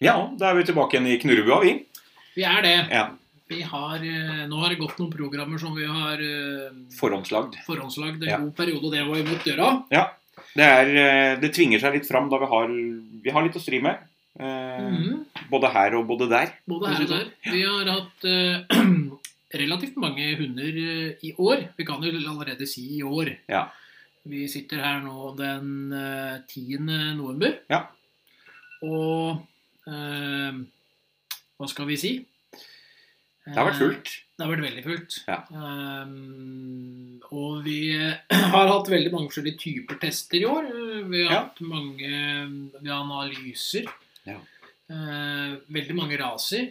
Ja, da er vi tilbake igjen i knurrebua, vi. Vi er det. Ja, Vi har, eh, nå har det gått noen programmer som vi har eh, Forhåndslagd. forhåndslagd en Ja. god periode, og det var imot døra. Det, er, eh, det tvinger seg litt fram da vi har, vi har litt å stri med. Eh, Mhm. Både her og både der. Både her og der. Vi har hatt eh, relativt mange hunder eh, i år. Vi kan jo allerede si i år. Ja. Vi sitter her nå den eh, 10. november. Ja. Og eh, hva skal vi si? Eh, Det har Mhm. vært fullt. Det har vært veldig fullt. Ja. Ehm, og vi har hatt veldig mange forskjellige typer tester i år. Vi har Ja. hatt mange vi har analyser. Ja. Eh, veldig mange raser.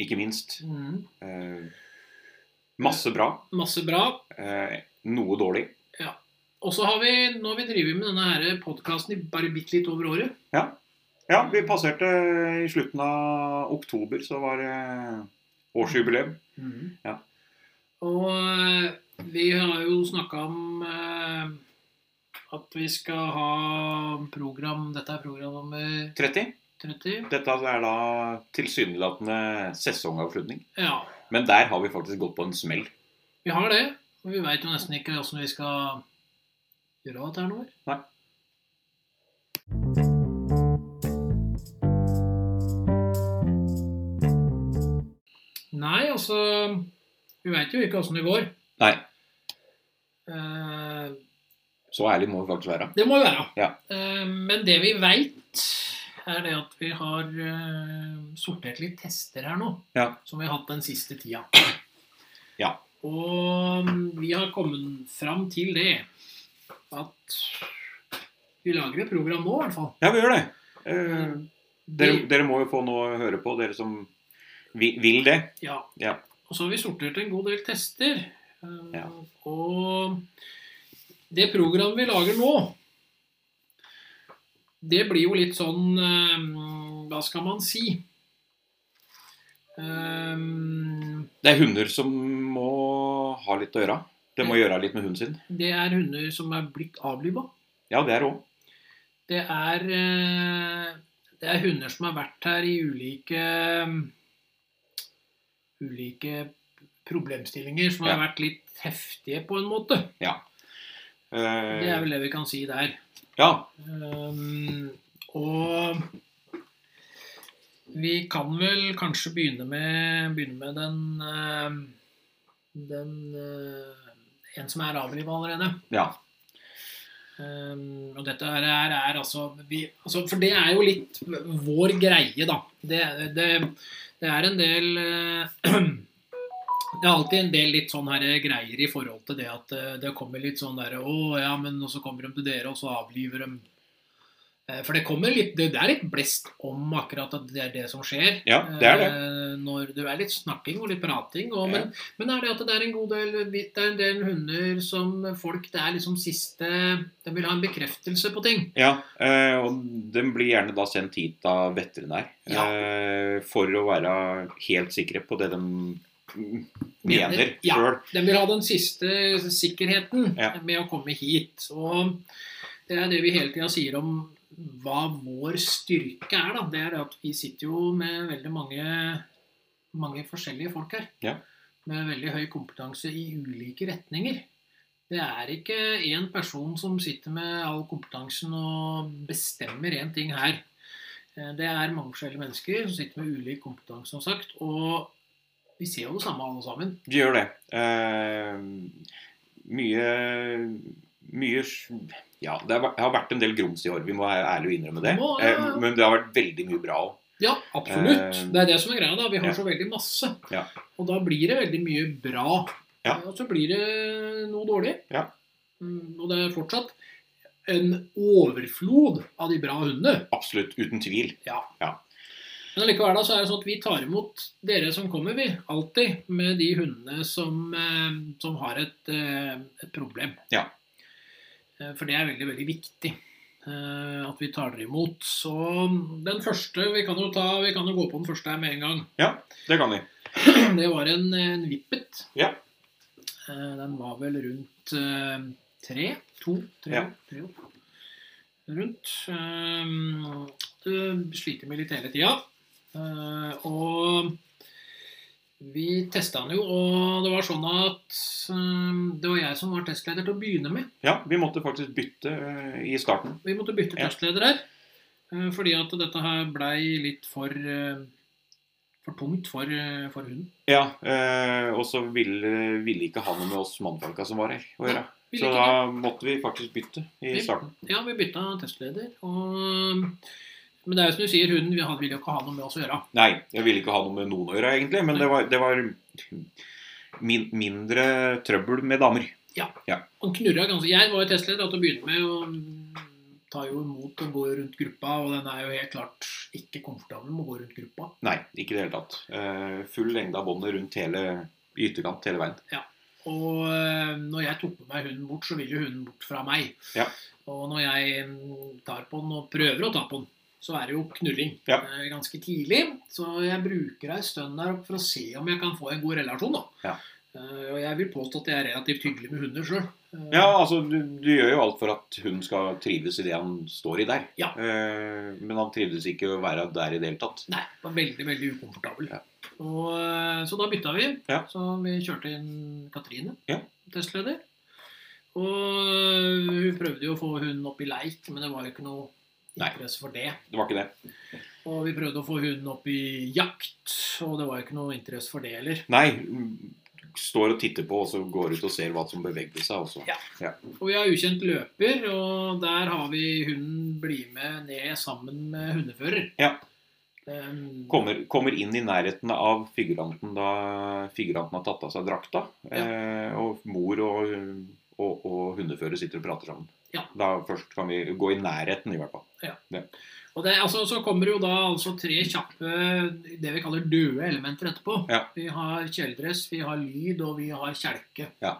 Ikke minst. Mm, Eh, masse bra. masse bra. Eh, noe dårlig. Og så har vi, nå har vi drevet med denne podkasten i bare bitte litt over året. Ja, vi passerte eh, i slutten av oktober, så var det årsjubileum. Mm. Ja. Og eh, vi har jo snakka om eh, at vi skal ha program Dette er program nummer 30. 30. Dette er da tilsynelatende sesongavslutning. Ja. Men der har vi faktisk gått på en smell. Vi har det, og vi veit jo nesten ikke åssen vi skal gjøre dette her nå. Nei. Nei, altså Vi veit jo ikke åssen det går. Nei, Eh, så ærlig må vi faktisk være. det må jo være. Ja. Eh, men det vi veit, er det at vi har eh, sortert litt tester her nå. Ja. Som vi har hatt den siste tida. Ja. Og mm, vi har kommet fram til det at vi lager et program nå, i hvert fall. Ja, vi gjør det. Eh, dere, Mm. Vi- dere må jo få noe å høre på, dere som vi- vil det. Ja. Ja. Og så har vi sortert en god del tester. Eh, Ja. Og det programmet vi lager nå, det blir jo litt sånn eh, Hva skal man si? Eh, Det er hunder som må ha litt å gjøre. De må gjøre litt med hunden sin. Det er hunder som er blitt avliva. Ja, det er òg. Det er, eh, det er hunder som har vært her i ulike eh, ulike problemstillinger som har Ja. vært litt heftige på en måte. Det er Eh, vel det vi kan si der. ja. Um, og vi kan vel kanskje begynne med, begynne med den, eh, den eh, en som er avlivet allerede. ja. Um, og dette her er, er altså, vi, altså For det er jo litt vår greie, da. Det, det, det er en del eh, Det er alltid en del litt sånn her greier i forhold til det at eh, det kommer litt sånn derre Å ja, men og så kommer de til dere, og så avliver de. Eh, For det kommer litt Det det er litt blest om akkurat at det er det som skjer. Ja, det er det. Eh, Når det er litt snakking og litt prating. Ja. Og, men, men er det at det er en god del Det er en del hunder som folk Det er liksom siste De vil ha en bekreftelse på ting. Ja, eh, og den blir gjerne da sendt hit av veterinær Ja. eh, for å være helt sikre på det de mm, mener Ja. sjøl. De vil ha den siste sikkerheten Ja. med å komme hit. Og det er det vi hele tida sier om hva vår styrke er. Da. Det er det at vi sitter jo med veldig mange, mange forskjellige folk her. Ja. Med veldig høy kompetanse i ulike retninger. Det er ikke én person som sitter med all kompetansen og bestemmer én ting her. Eh, Det er mange forskjellige mennesker som sitter med ulik kompetanse, som sagt. Og vi ser jo det samme alle sammen. De gjør det. Eh, mye mye s- Ja, det har vært- det har vært en del grums i år, vi må være ærlige og innrømme det. Det må- Eh, men det har vært veldig mye bra òg. Ja, absolutt. Eh, det er det som er greia. da. Vi har ja. så veldig masse. Ja. Og da blir det veldig mye bra. Ja. Og så blir det noe dårlig. Ja. Mm, Og det er fortsatt en overflod av de bra hundene. Absolutt. Uten tvil. Men allikevel da, så er det sånn at vi tar imot dere som kommer, vi. Alltid. Med de hundene som, eh, som har et, eh, et problem. Ja. Eh, For det er veldig, veldig viktig eh, at vi tar dere imot. Så den første Vi kan jo, ta, vi kan jo gå på den første her med en gang. Det kan vi. Det var en, en vippet. Ja. Eh, Den var vel rundt eh, tre? To? Tre? Ja. tre år. rundt. Eh, Du sliter med litt hele tida. Eh, og vi testa den jo, og det var sånn at eh, det var jeg som var testleder til å begynne med. Ja, vi måtte faktisk bytte eh, i starten. Vi måtte bytte Ja. testleder her. eh, Fordi at dette her blei litt for eh, For tungt for, eh, for hunden. Ja, eh, og så ville, ville ikke ha noe med oss mannfolka som var her å gjøre. Vi Så likte da måtte vi faktisk bytte i Vi- starten. Ja, vi bytta testleder. Og, men det er jo som du sier, hunden vi hadde- ville jo ikke ha noe med oss å gjøre. Nei, jeg ville ikke ha noe med noen å gjøre, egentlig. Men det var, det var min, mindre trøbbel med damer. Han knurra ganske Jeg var jo testleder til å begynne med, og tar jo imot og går rundt gruppa. Og den er jo helt klart ikke komfortabel med å gå rundt gruppa. Nei, ikke i det hele tatt. Eh, full lengde av båndet rundt hele i ytterkant hele veien. Og eh, når jeg tok med meg hunden bort, så vil jo hunden bort fra meg. Ja. Og når jeg mm, tar på den og prøver å ta på den, så er det jo knurring Ja. eh, ganske tidlig. Så jeg bruker ei stund der oppe for å se om jeg kan få en god relasjon. da. Ja. Eh, og jeg vil påstå at jeg er relativt hyggelig med hunder Eh, sjøl. Ja, altså, du, du gjør jo alt for at hun skal trives i det han står i der. Ja. Eh, men han trivdes ikke å være der i det hele tatt. Nei, var veldig, veldig ukomfortabel. Ja. Og, eh, så da bytta vi. Ja. Så vi kjørte inn Katrine, Ja. testleder. Og eh, hun prøvde jo å få hunden opp i leik, men det var jo ikke noe Nei. interesse for det. Det var ikke det. Og vi prøvde å få hunden opp i jakt, og det var jo ikke noe interesse for det heller. Nei, mm, står og titter på, og så går ut og ser hva som beveger seg. Også. Ja. Og vi har ukjent løper, og der har vi hunden bli med ned sammen med hundefører. Ja. Um, Kommer, kommer inn i nærheten av figuranten da figuranten har tatt av seg drakta. Eh, og mor og, og, og hundefører sitter og prater sammen. Ja. Da først kan vi gå i nærheten, i hvert fall. Og det, altså, så kommer jo da altså tre kjappe, det vi kaller døde elementer etterpå. Ja. Vi har kjeledress, vi har lyd, og vi har kjelke. Ja.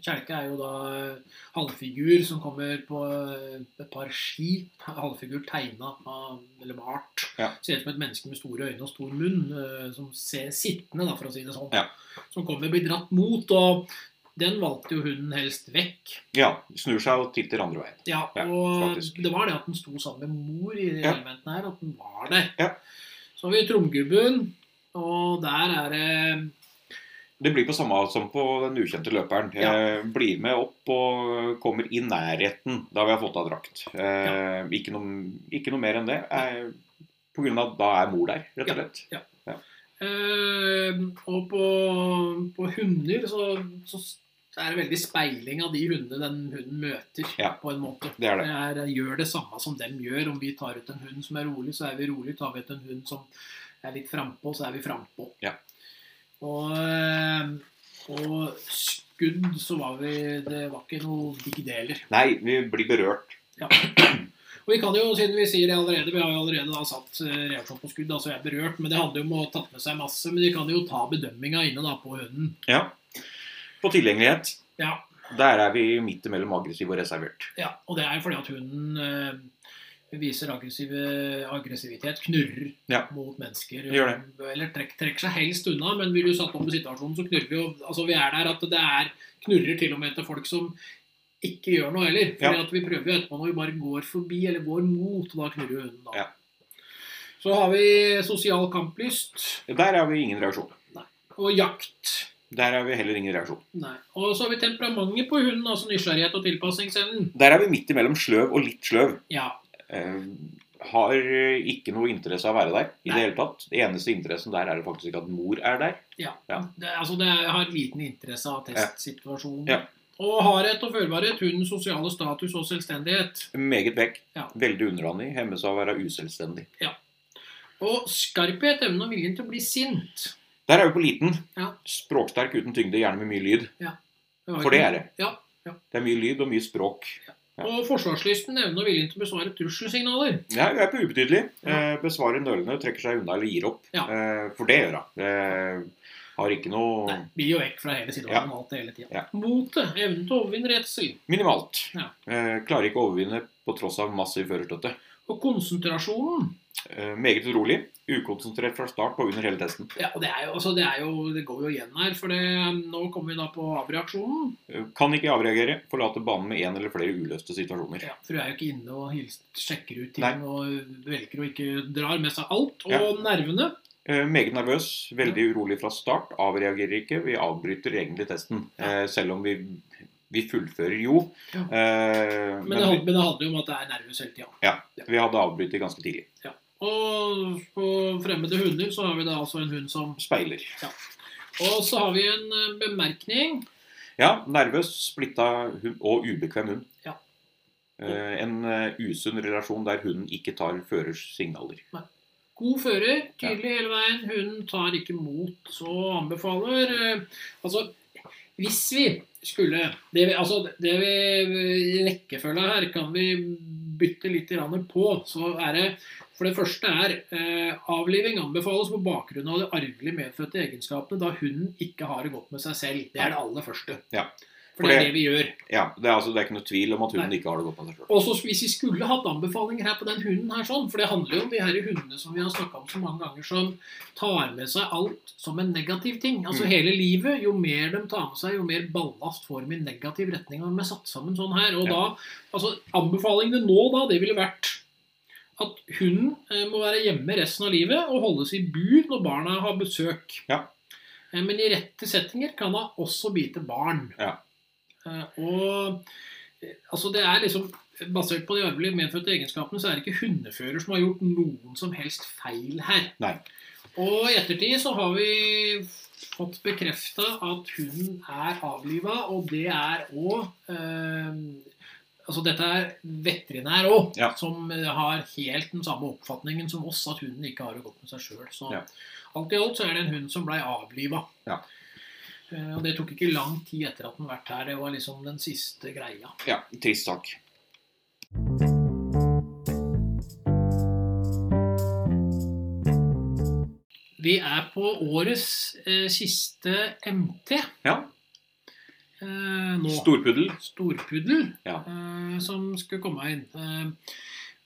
Kjelke er jo da eh, halvfigur som kommer på eh, et par ski. Halvfigur tegna av eller malt. Ja. Ser ut som et menneske med store øyne og stor munn. eh, Som ser sittende, da, for å si det sånn. Ja. Som kommer blir dratt mot. Og den valgte jo hunden helst vekk. Ja. Snur seg og titter andre veien. Ja, Ja, og faktisk. det var det at den sto sammen med mor i de Ja. elementene her, at den var der. Ja. Så har vi Tromgubben, og der er det Det blir på samme som på den ukjente løperen. Ja. Eh, blir med opp og kommer i nærheten da vi har fått av drakt. Eh, ikke, noe, ikke noe mer enn det. Eh, på grunn av at da er mor der, rett Ja. og slett. eh, Og på, på hunder så, så er det veldig speiling av de hundene den hunden møter, Ja. på en måte. Det er det. Det er, eh, gjør det samme som dem gjør. Om vi tar ut en hund som er rolig, så er vi rolig. Tar vi ut en hund som er litt frampå, så er vi frampå. Ja. Og, eh, og skudd, så var vi Det var ikke noe digg det heller. Nei, vi blir berørt. Og vi kan jo, siden vi sier det allerede, vi har jo allerede da satt eh, redskap på skudd, altså jeg er berørt, men det handler jo om å ha tatt med seg masse. Men de kan jo ta bedømminga inne da på hunden. Ja. På tilgjengelighet. Ja, Der er vi midt imellom aggressiv og reservert. ja. Og det er jo fordi at hunden eh, viser aggressive, aggressivitet, knurrer Ja. mot mennesker. Gjør Eller trekk, trekker seg helst unna, men blir du satt opp i situasjonen, så knurrer vi jo. Altså vi er der at det er knurrer til og med til folk som ikke gjør noe heller. Fordi Ja. at vi prøver jo etterpå når vi bare går forbi eller går mot, da knurrer jo hunden da. Ja. Så har vi sosial kamplyst. Der er vi ingen reaksjon. Og jakt. Der er vi heller ingen reaksjon. Nei. Og så har vi temperamentet på hunden, altså nysgjerrighet og tilpasningsevnen. Der er vi midt imellom sløv og litt sløv. Ja. Eh, har eh, ikke noe interesse av å være der i det Nei. hele tatt. Det eneste interessen der er jo faktisk at mor er der. ja. Ja. Det, altså det har liten interesse av testsituasjonen. Ja. Og hardhet og følbarhet, hundens sosiale status og selvstendighet. Meget vekk. Ja. Veldig underlandig. Hemmes av å være uselvstendig. Og skarphet, evnen og viljen til å bli sint. Der er vi på liten. Ja. Språksterk uten tyngde, gjerne med mye lyd. var For ikke- det er det. Ja, ja. Det er mye lyd og mye språk. ja. Og forsvarslysten, evnen og viljen til å besvare trusselsignaler. Ja, hun er på ubetydelig. Ja. Eh, besvarer nølende, trekker seg unna eller gir opp. Ja. Eh, for det gjør hun. Eh, har ikke noe Nei, blir jo vekk fra hele Ja. situasjonen og alt det hele tida. Ja. Motet, evnen til å overvinne redsel. Minimalt. Ja. Eh, klarer ikke å overvinne på tross av massiv førerstøtte. Og konsentrasjonen, Eh, meget urolig. Ukonsentrert fra start og under hele testen. Ja, og det, er jo, altså, det, er jo, det går jo igjen her, for det, um, nå kommer vi da på avreaksjonen. Eh, kan ikke avreagere. Forlater banen med én eller flere uløste situasjoner. Ja, for du er jo ikke inne og hils- sjekker ut ting Nei. og velger å ikke drar med seg alt. Og Ja. nervene. Eh, meget nervøs, veldig urolig fra start. Avreagerer ikke. Vi avbryter egentlig testen. Ja. Eh, selv om vi, vi fullfører jo. Ja. Eh, Men, det, men hand- men det handler jo om at det er nervøs hele tida. vi, vi hadde avbrytet ganske tidlig. Og på fremmede hunder så har vi da altså en hund som Speiler. Og så har vi en eh, bemerkning. Ja, nervøs, splitta hund og ubekvem hund. Ja. Eh, en eh, usunn relasjon der hunden ikke tar førers signaler. God fører, tydelig hele veien. Hunden tar ikke mot og anbefaler. Eh, Altså, hvis vi skulle Det vi, altså, det vi i rekkefølga her kan vi bytte litt grann på. Så er det For det første er eh, avliving anbefales på bakgrunn av de arvelig medfødte egenskapene da hunden ikke har det godt med seg selv. Det er det aller første. Ja. For det For er det- det vi gjør. Ja, det er, altså, det er ikke noe tvil om at hunden Nei. ikke har det godt med seg sjøl. Og så hvis vi skulle hatt anbefalinger her på den hunden her sånn, for det handler jo om de her hundene som vi har snakka om så mange ganger, som tar med seg alt som en negativ ting. Altså Mm. hele livet. Jo mer de tar med seg, jo mer ballast får de i negativ retning. Og de er satt sammen sånn her. Og Ja. da Altså anbefalingene nå, da, det ville vært at hunden eh, må være hjemme resten av livet og holdes i bur når barna har besøk. Ja. Eh, Men i rette settinger kan hun også bite barn. Ja. Eh, Og eh, altså det er liksom Basert på de arvelige medfødte egenskapene, så er det ikke hundefører som har gjort noen som helst feil her. Nei. Og i ettertid så har vi fått bekrefta at hunden er avliva, og det er òg Altså dette er veterinær òg, Ja. som eh, har helt den samme oppfatningen som oss, at hunden ikke har det godt med seg sjøl. Så Ja. alt i alt så er det en hund som blei avliva. Ja. Eh, Og det tok ikke lang tid etter at den vært her. Det var liksom den siste greia. Ja, trist sak. Vi er på årets eh, siste MT Ja, eh, nå. Storpuddel. storpuddel Ja. eh, som skulle komme inn. Eh,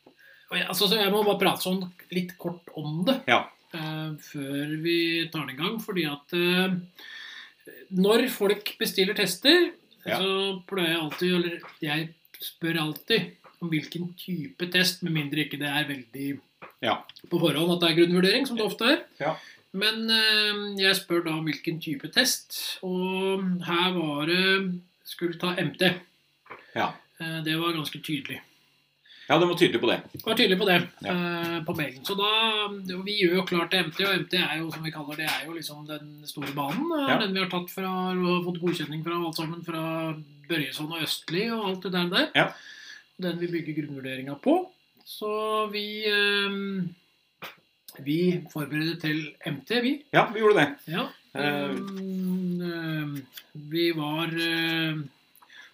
og jeg, altså, så jeg må bare prate sånn litt kort om det Ja. eh, før vi tar det i gang, fordi at eh, når folk bestiller tester, Ja. så pleier jeg alltid, eller jeg spør alltid om hvilken type test, med mindre ikke det er veldig Ja. på forhånd at det er grunnvurdering, som det ofte er. Ja. Men eh, jeg spør da om hvilken type test, og her var det skulle ta MT. Ja. Eh, Det var ganske tydelig. Ja, den var tydelig på det. Det var tydelig på det Ja. eh, på mailen. Så da, jo, Vi gjør jo klart til MT, og MT er jo som vi kaller det, er jo liksom den store banen. eh, Ja. Den vi har tatt fra og fått godkjenning fra alt sammen fra Børjesson og Østli og alt det der. der. Ja. Den vi bygger grunnvurderinga på. Så vi eh, vi forbereder til MT, vi. Ja, vi gjorde det. Ja. Eh. ehm, ehm, vi var ehm,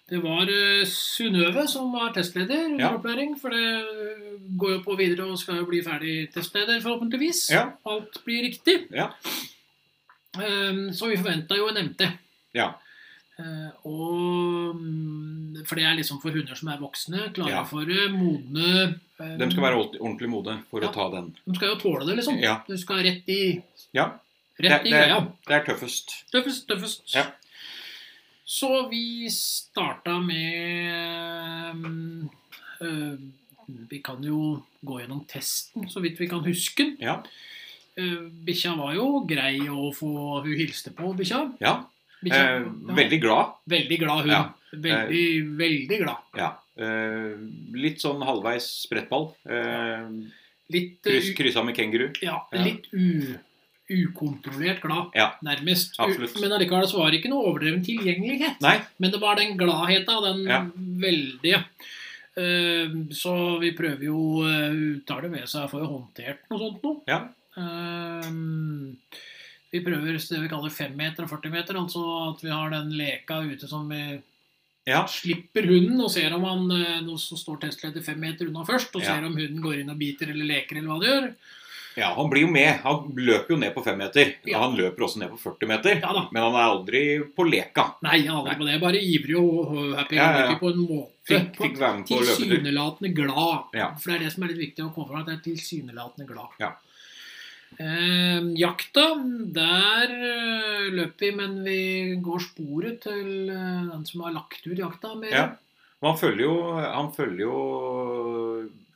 Det var eh, Synnøve som var testleder under Ja. opplæring. For det eh, går jo på videre og skal jo bli ferdig testleder, forhåpentligvis. Ja. Alt blir riktig. Ja. Ehm, så vi forventa jo en MT. Ja. Eh, og mm, For det er liksom for hunder som er voksne, klare Ja. for det, modne eh, De skal være ord- ordentlig modige for Ja. å ta den. de skal jo tåle det, liksom. Ja. Du skal rett i, Ja, rett Det- i det- greia. det er tøffest. Tøffest, tøffest. Ja. Så vi starta med um, øh, Vi kan jo gå gjennom testen, så vidt vi kan huske den. Ja. Uh, bikkja var jo grei å få Hun hilste på bikkja. ja. Bikkja- Eh, ja, veldig glad. veldig glad hun. Ja. Eh, Veldig, veldig glad. Ja. Eh, litt sånn halvveis sprettball. Eh, Litt, uh, kryss, kryssa med kenguru. ja, Ja. litt u, ukontrollert glad, Ja. nærmest. Absolutt. Men allikevel så var det ikke noe overdreven tilgjengelighet. Nei. Men det var den gladheten, den Ja. veldige. Ehm, Så vi prøver jo eh, Hun tar det med seg, får jo håndtert noe sånt noe. Ja. Ehm, Vi prøver det vi kaller femmeter og 40 meter, altså at vi har den leka ute som vi Ja. slipper hunden og ser om han eh, Nå så står testleder fem meter unna først, og Ja. ser om hunden går inn og biter eller leker eller hva det gjør. Ja, Han blir jo med. Han løper jo ned på femmeter. Ja. Han løper også ned på 40 meter. Ja da. Men han er aldri på leka. Nei, jeg aner på det. Jeg bare ivrig og og happy. Ja, ja, ja. Ikke på en måte. Fikk, På- fikk være med på løpetur. Tilsynelatende glad. Ja. For det er det som er litt viktig å komme fram til. at det er Tilsynelatende glad. Ja. Eh, jakta, der eh, løper vi, men vi går sporet til eh, den som har lagt ut jakta. Mer. Ja. Men han følger jo, han følger jo,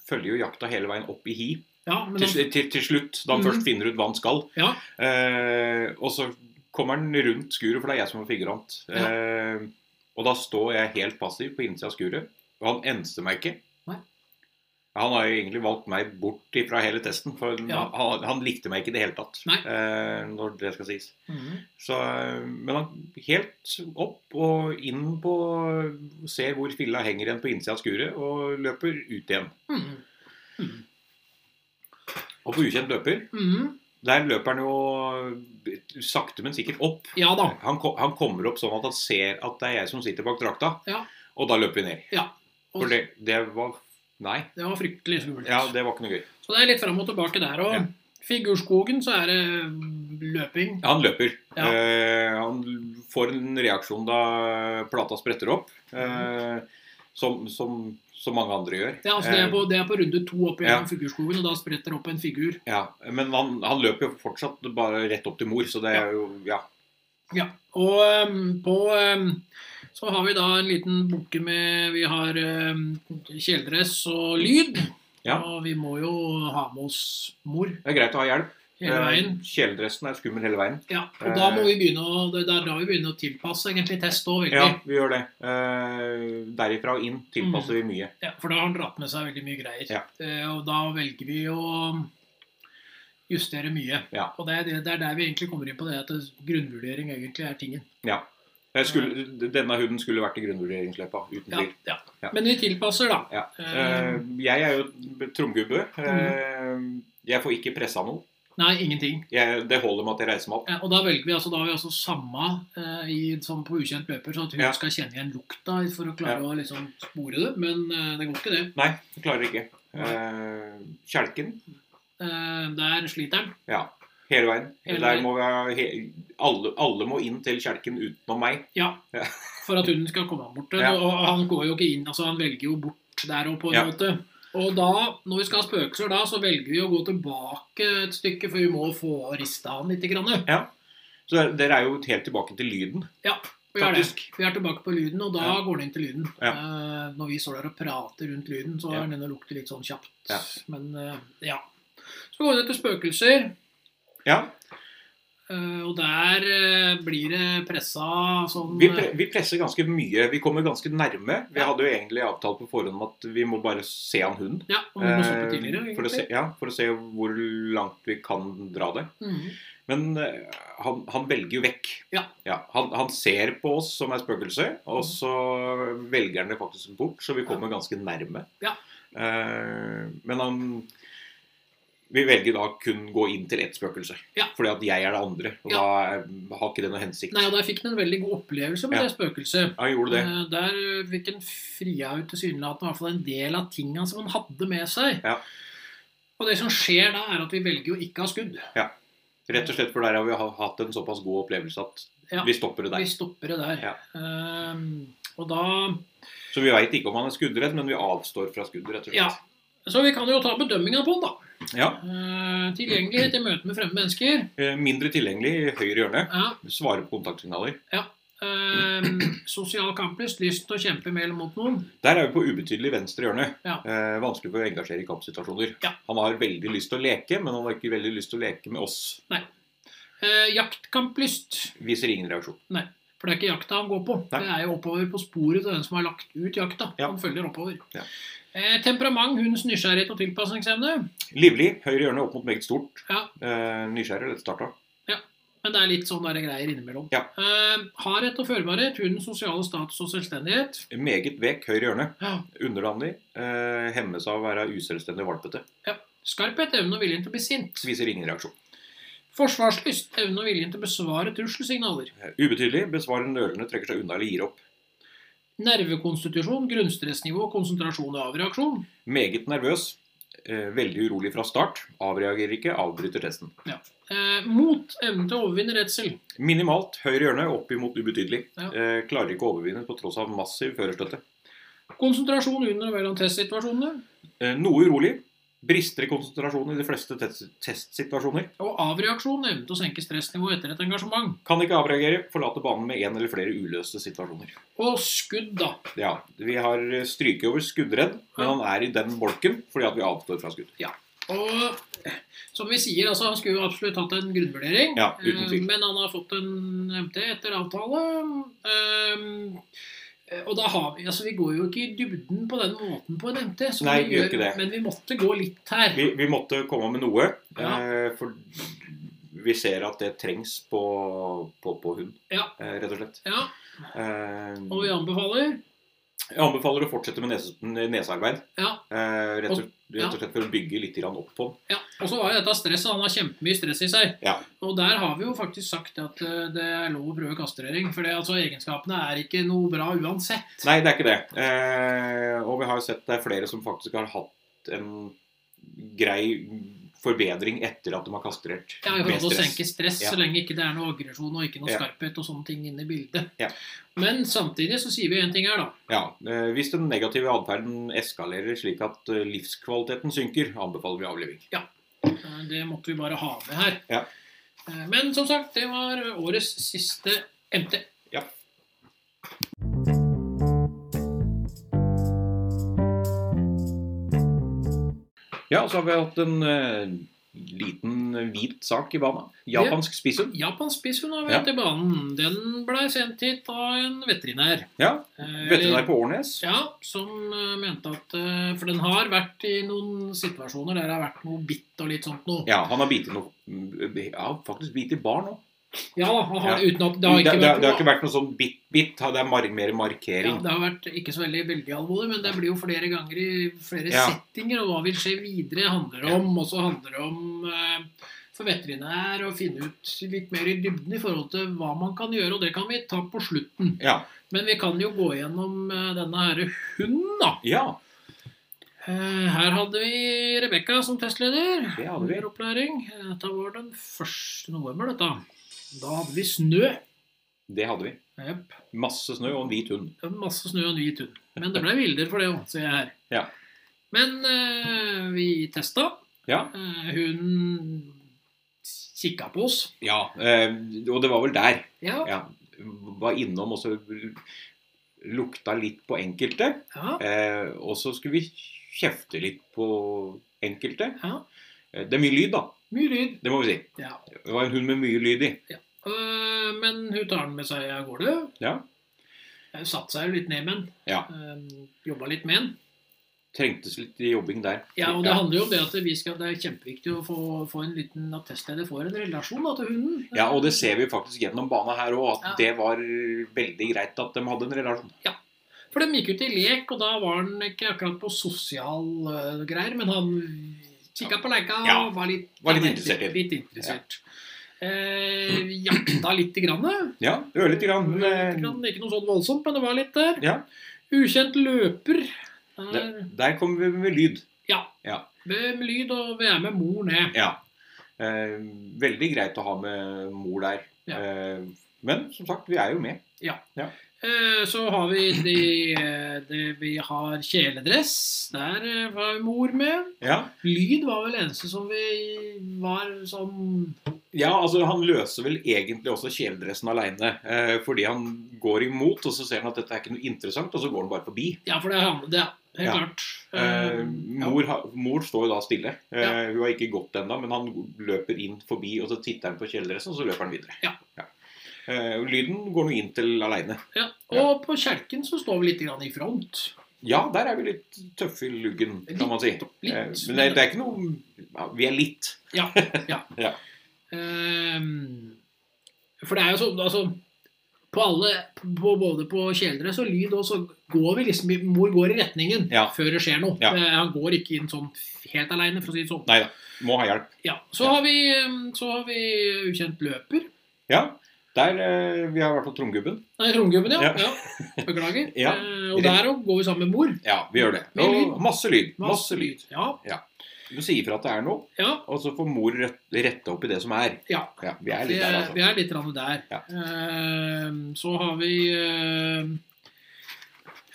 følger jo jakta hele veien opp i hi. Ja, men Til, han, sl- til, til slutt, da han Mhm. først finner ut hva han skal. Ja. Eh, og så kommer han rundt skuret, for det er jeg som er figurant. Ja. Eh, og da står jeg helt passiv på innsida av skuret, og han enser meg ikke. Nei. Han har jo egentlig valgt meg bort ifra hele testen, for Ja. han, han likte meg ikke i det hele tatt. Nei. Eh, når det skal sies. Mhm. Så, eh, men han helt opp og inn på Ser hvor filla henger igjen på innsida av skuret, og løper ut igjen. Mhm. Og på ukjent løper Mhm. Der løper han jo sakte, men sikkert opp. ja da. Han, ko- han kommer opp sånn at han ser at det er jeg som sitter bak drakta, Ja. og da løper vi ned. Og For det, det var Nei. det var fryktelig skummelt. Ja, det var ikke noe gøy. Så det er litt fram og tilbake der òg. Ja. Figurskogen, så er det mm, løping. Han løper. Ja. Eh, han får en reaksjon da plata spretter opp, Mhm. eh, som, som, som mange andre gjør. Ja, altså det, er på, det er på runde to opp Eh. ja. gjennom figurskogen, og da spretter det opp en figur. Eh, ja. Men han, han løper jo fortsatt bare rett opp til mor, så det er jo Ja. Ja, og ehm, på ehm, så har vi da en liten bunke med Vi har ehm, kjeledress og lyd. Ja. Og vi må jo ha med oss mor Det er greit å ha hjelp. hele veien. Eh, Kjeledressen er skummel hele veien. Ja, og da må Eh. vi begynne å, det er da vi begynner å tilpasse egentlig test òg, veldig. Ja, vi gjør det. Eh, derifra og inn Mm. tilpasser vi mye. Ja, for da har han dratt med seg veldig mye greier. Ja. Eh, og da velger vi å justere mye. Ja. Og det er, det, det er der vi egentlig kommer inn på det at grunnvurdering egentlig er tingen. Ja. Jeg skulle, denne hunden skulle vært i grunnvurderingsløpa, uten Mm. Ja, tvil. ja. Ja. Men vi tilpasser, da. Ja. Eh, Eh, jeg er jo tromgubbe. Eh, jeg får ikke pressa noe. nei, ingenting. Jeg, det holder med at jeg reiser meg opp. Ja, og da velger vi altså, da har vi altså samme eh, i, som på ukjent løper, sånn at hun Ja. skal kjenne igjen lukta for å klare Ja. å liksom spore det. Men eh, det går ikke, det. Nei, jeg klarer ikke. Eh, kjelken. Eh, der sliter han. Ja. Hele veien. Hele Der veien. må vi, ha he, alle, alle må inn til kjelken utenom meg. Ja. Ja. For at hunden skal komme bort. Ja. Og han går jo ikke inn, altså han velger jo bort der òg, på en Ja. måte. Og da, når vi skal ha spøkelser da, så velger vi å gå tilbake et stykke, for vi må få rista han litt. Grann. Så dere- dere er jo helt tilbake til lyden. Vi er, det. Faktisk. vi er tilbake på lyden, og da Ja. går det inn til lyden. Ja. Eh, når vi står der og prater rundt lyden, så Ja. er den inne og lukter litt sånn kjapt. Ja. Men eh, ja. Så går vi ned til spøkelser, Ja. eh, og der eh, blir det pressa sånn Vi, pre, vi presser ganske mye. Vi kommer ganske nærme. Vi Ja. hadde jo egentlig avtalt på forhånd om at vi må bare se an hunden. Ja, og vi må stoppe Eh, tidligere, for å, se, egentlig. ja, for å se hvor langt vi kan dra det. Mhm. Men eh, han, han velger jo vekk. Ja. Mm. han, han ser på oss som er spøkelse, og så velger han det faktisk bort, så vi kommer ganske nærme. Ja. Eh, men han Vi velger da kun gå inn til ett spøkelse. Ja. Fordi at jeg er det andre, og Ja. da eh, har ikke det noe hensikt. Nei, og der fikk han en veldig god opplevelse med Ja. det spøkelset. Han gjorde det. Eh, Der fikk han fria ut tilsynelatende i hvert fall en del av tinga som han hadde med seg. Ja. Og det som skjer da, er at vi velger jo ikke å ha skudd. Rett og slett for der har vi ha- hatt en såpass god opplevelse at Ja. vi stopper det der. Vi stopper det der. Ja. Ehm, og da Så vi veit ikke om han er skuddredd, men vi avstår fra skudd, rett og Ja. slett. Så vi kan jo ta bedømminga på den, da. Ja. Ehm, tilgjengelighet i møte med fremmede mennesker. Eh, Mindre tilgjengelig i høyre hjørne. Ja. Svare på kontaktsignaler. Ehm, sosial kamplyst, lyst til å kjempe med eller mot noen. Der er vi på ubetydelig venstre hjørne. Ja. Eh, vanskelig for å engasjere i kampsituasjoner. Ja. Han har veldig lyst til å leke, men han har ikke veldig lyst til å leke med oss. Eh, jaktkamplyst. Viser ingen reaksjon. For det er ikke jakta han går på. Nei. Det er jo oppover på sporet til den som har lagt ut jakta. Ja. Han følger oppover. Ja. Eh, temperament, hundens nysgjerrighet og tilpasningsevne. Livlig. Høyre hjørne opp mot meget stort. Ja. Eh, nysgjerrig. Dette starta. Men det er litt sånn der greier innimellom. Ja. Eh, hardhet og førbarhet, hundens sosiale status og selvstendighet. Meget vek høyre hjørne. Ja. Underlandig. Eh, hemmes av å være uselvstendig valpete. Skarphet, evne og viljen til å bli sint. Viser ingen reaksjon. Forsvarslyst, evne og viljen til å besvare trusselsignaler. Eh, Ubetydelig. Besvarer nølende, trekker seg unna eller gir opp. Nervekonstitusjon, grunnstressnivå, konsentrasjon og avreaksjon. Meget nervøs. eh, veldig urolig fra start, avreagerer ikke, avbryter testen. Eh, mot evnen til å overvinne redsel. Minimalt høyre hjørne, opp imot ubetydelig. Ja. Eh, klarer ikke å overvinne på tross av massiv førerstøtte. Konsentrasjon under og mellom testsituasjonene. Eh, noe urolig. Brister i konsentrasjonen i de fleste test testsituasjoner. Og avreaksjon, evnen til å senke stressnivået etter et engasjement. Kan ikke avreagere, forlater banen med én eller flere uløste situasjoner. Og skudd, da. Ja, Vi har eh, stryket over skuddredd, men han er i den bolken fordi at vi avstår fra skudd. Og som vi sier, altså, han skulle jo absolutt hatt en grunnvurdering. Ja, uten tvil. Eh, Men han har fått en MT etter avtale. Ehm, eh, og da har vi, altså vi går jo ikke i dybden på den måten på en MT, som Nei, vi vi gjør ikke det. men vi måtte gå litt her. Vi, vi måtte komme med noe, Ja. eh, for vi ser at det trengs på, på, på hund, Ja. eh, rett og slett. Ja, Eh, Og vi anbefaler Jeg anbefaler å fortsette med nese, nesearbeid, Ja. eh, rett, og, ja. rett og slett for å bygge litt grann opp på den. Ja, og så var jo dette stresset. Han har kjempemye stress i seg. Ja. Og der har vi jo faktisk sagt at eh, det er lov å prøve kastrering. For det, altså, egenskapene er ikke noe bra uansett. Nei, det er ikke det. Eh, og vi har jo sett det er flere som faktisk har hatt en grei forbedring etter at de har kastrert Ja, i med forhold til å stress. senke stress, Ja. så lenge ikke det er noe aggresjon og ikke noe Ja. skarphet og sånne ting inne i bildet. Ja. Men samtidig så sier vi en ting her, da. Ja, eh, Hvis den negative atferden eskalerer slik at eh, livskvaliteten synker, anbefaler vi avliving. Eh, Det måtte vi bare ha med her. Ja. Eh, Men som sagt, det var årets siste MT. Ja. Ja, så har vi hatt en eh, liten hvit sak i banen. Japansk spisum. Japansk spisshund har Ja. vært i banen. Den blei sendt hit av en veterinær. Ja, Eh, Veterinær på Årnes. Ja, som eh, mente at eh, For den har vært i noen situasjoner der det har vært noe bitt og litt sånt noe. Ja, han har bitt i noe mm, Ja, faktisk bitt i barn òg. Ja, da, han har, Ja. uten at Det, det har det, ikke det, vært har ikke vært noe sånn bitt-bitt. Det er mar mer ja, markering. det har vært ikke så veldig veldig alvorlig, men det blir jo flere ganger i flere Ja. settinger, og hva vil skje videre handler om. Og så handler det om eh, for veterinær å finne ut litt mer i dybden i forhold til hva man kan gjøre, og det kan vi ta på slutten. Ja. Men vi kan jo gå gjennom eh, denne herre hunden, da. ja. Eh, Her hadde vi Rebekka som testleder. Det hadde vi. Under Opplæring. Eh, Dette var den første november, dette. Da hadde vi snø. Det hadde vi. Jep. Masse snø og en hvit hund. Det var Masse snø og en hvit hund. Men det ble villere for det òg, ser jeg her. Ja. Men eh, vi testa. Ja. Eh, hun kikka på oss. ja. Eh, og det var vel der. Ja. Ja. Var innom og så lukta litt på enkelte. ja. Eh, og så skulle vi kjefte litt på enkelte. ja. Eh, Det er mye lyd, da. Mye lyd. Det må vi si. Ja. Det var en hund med mye lyd i. Eh, men hun tar den med seg av gårde. Ja. Hun satte seg jo litt ned med den. Ja. Eh, Jobba litt med den. Trengtes litt jobbing der. Ja, og det handler jo om det at vi skal, det er kjempeviktig å få, få en liten at testleder får en relasjon da, til hunden. Ja, og det ser vi faktisk gjennom bana her òg, at Ja. det var veldig greit at de hadde en relasjon. For de gikk ut i lek, og da var han ikke akkurat på sosial eh, greier, men han kikka på leika Ja. og var litt, Var litt interessert i det. Litt interessert. Eh, jakta lite grann. eh. Ja, det var lite grann. Lite men, eh, grann, Ikke noe sånn voldsomt, men det var litt der. Ja. Ukjent løper. Der, Der, der kom vi med lyd. med lyd, og vi er med mor ned. Ja. Eh, veldig greit å ha med mor der. Ja. Eh, men som sagt, vi er jo med. Eh, Så har vi de, eh, de Vi har kjeledress. Der eh, var mor med. Ja. Lyd var vel eneste som vi var sånn ja, altså han løser vel egentlig også kjeledressen aleine. Eh, fordi han går imot, og så ser han at dette er ikke noe interessant, og så går han bare forbi. Ja, for det er han- det er helt Ja. klart. Um, Eh, mor, har- mor står jo da stille. Eh, Ja. Hun har ikke gått ennå, men han løper inn forbi, og så titter han på kjeledressen, og så løper han videre. Ja. Eh, lyden går nå inn til aleine. Ja. Og på kjelken så står vi litt grann i front. Ja, der er vi litt tøffe i luggen, kan man si. Eh, Litt, men det, det er ikke noe ja, Vi er litt. Ja. ja. Ja. Ehm, for det er jo sånn, altså på alle, på, både på kjeledress og lyd også, går vi liksom, i- mor går i retningen Ja. før det skjer noe. Ja. Eh, han går ikke inn sånn helt alene, for å si det sånn. Nei da. Må ha hjelp. Ja. Så, Ja. Har vi, ehm, så har vi ukjent løper. Ja. Der, eh, Vi har i hvert fall Tromgubben. Nei, Tromgubben, ja. Ja. ja. Beklager. Ja. Eh, og der òg går vi sammen med mor. Ja, vi gjør det. Mye lyd. Og masse lyd. Masse lyd. Ja. Du sier ifra at det er noe, ja. og så får mor rett- rette opp i det som er. Ja. Ja, vi er litt Det- der, altså. Vi er litt grann der. Ja. Eh, så har vi eh,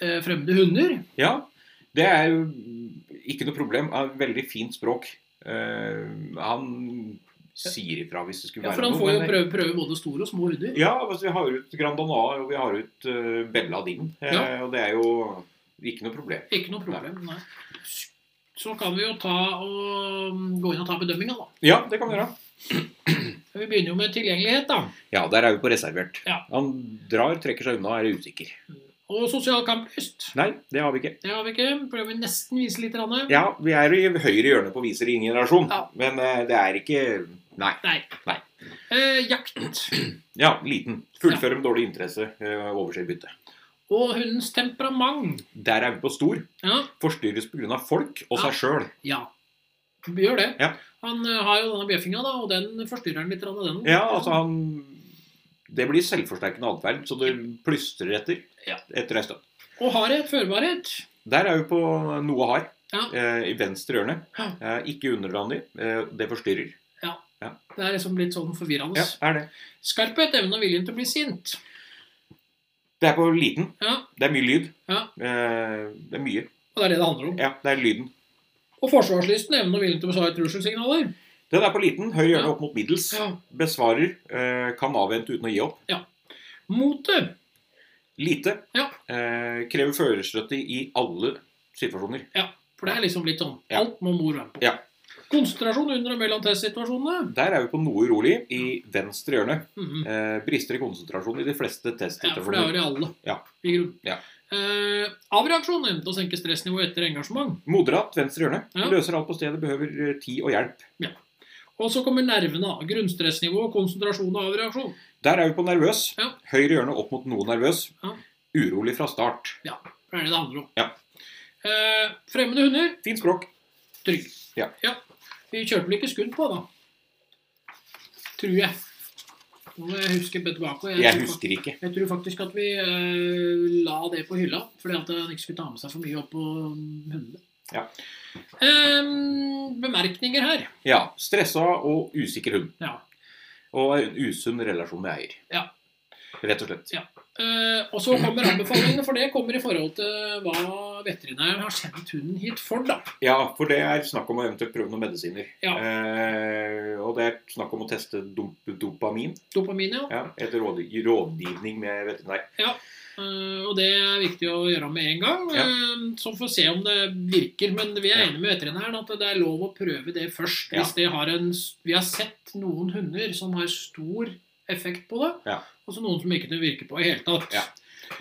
eh, fremmede hunder. Ja, det er jo ikke noe problem. Han har Veldig fint språk. Eh, han sier ifra hvis det skulle Ja, være for han noe, får jo men- prøve, prøve både store og små hunder. Ja, altså, vi har ut Grand Danois og vi har ut eh, Bella din. Eh, Ja. Og det er jo ikke noe problem. Ikke noe problem. Nei. Så kan vi jo ta og mm, gå inn og ta bedømminga, da. Ja, det kan vi gjøre. Vi begynner jo med tilgjengelighet, da. Ja, der er vi på reservert. Ja. Han drar, trekker seg unna, er usikker. Og sosial kamplyst. Nei, det har vi ikke. Det har vi ikke. Prøver vi nesten vise litt. Ranne. Ja, vi er i høyre hjørne på viser i ingen generasjon, Ja. men eh, det er ikke Nei. Nei. Nei. Eh, jakt. Ja, liten. Fullfører med dårlig interesse, eh, overser byttet. Og hundens temperament. Der er vi på stor. Ja. Forstyrres pga. folk og Ja. seg sjøl. Ja. Vi gjør det. Ja. Han eh, har jo denne bjeffinga, da, og den forstyrrer han litt. grann, Den. Ja, altså han Det blir selvforsterkende atferd, så det plystrer etter. Ja. Etter ei stund. Og hardhet, førbarhet. Der er vi på noe hard. Ja. Eh, I venstre hjørne. Ja. Eh, ikke underlandig. Eh, det forstyrrer. Det er liksom litt sånn forvirrende. Ja, er det. Skarphet, evnen og viljen til å bli sint. Det er på liten. Ja, Det er mye lyd. Ja. Eh, det er mye. og det er det det handler om. Ja, det er lyden. Og forsvarslysten, evnen og viljen til å besvare trusselsignaler. Den er på liten. Høyre hjørne Ja. opp mot middels. Ja. Besvarer. Eh, kan avvente uten å gi opp. Motet. Lite. Ja. Eh, krever førerstøtte i alle situasjoner. For det er liksom litt sånn Ja. Alt må mor være på. Ja. Konsentrasjon under og mellom testsituasjonene. Der er vi på noe urolig i venstre hjørne. Mhm. Eh, brister i konsentrasjon i de fleste Ja, for det testsituasjoner. har de alle. Ja. I grunn. Ja. Eh, avreaksjon, evnen til å senke stressnivået etter engasjement. Moderat venstre hjørne. Ja. Løser alt på stedet, behøver eh, tid og hjelp. Og så kommer nervene. da. Grunnstressnivå, konsentrasjon og avreaksjon. Der er vi på nervøs. Ja. Høyre hjørne opp mot noe nervøs. Ja. Urolig fra start. Det er det det handler om. Ja. Eh, fremmede hunder Fint språk. trygg. Ja. Vi kjørte vel ikke skudd på, da. Tror jeg. Nå må jeg huske bedt bak. og Jeg tror fak- husker ikke. jeg tror faktisk at vi eh, la det på hylla, fordi at han ikke skulle ta med seg for mye opp på mm, hundene. Ja. Eh, bemerkninger her. Ja, Stressa og usikker hund. Ja. Og en usunn relasjon med eier. Ja. Rett og slett. Eh, og så kommer anbefalingene, for det kommer i forhold til hva veterinæren har sendt hunden hit for, da. Ja, for det er snakk om å eventuelt prøve noen medisiner. Ja. Eh, og det er snakk om å teste dop dopamin Dopamin, ja. ja, etter råd rådgivning med veterinær. Eh, og det er viktig å gjøre med en gang. Ja. eh, så får vi se om det virker. Men vi er Ja. enige med veterinæren at det er lov å prøve det først. Ja. Hvis det har en, s- vi har sett noen hunder som har stor effekt på det, Ja. og så noen som ikke det virker på i hele tatt. Ja.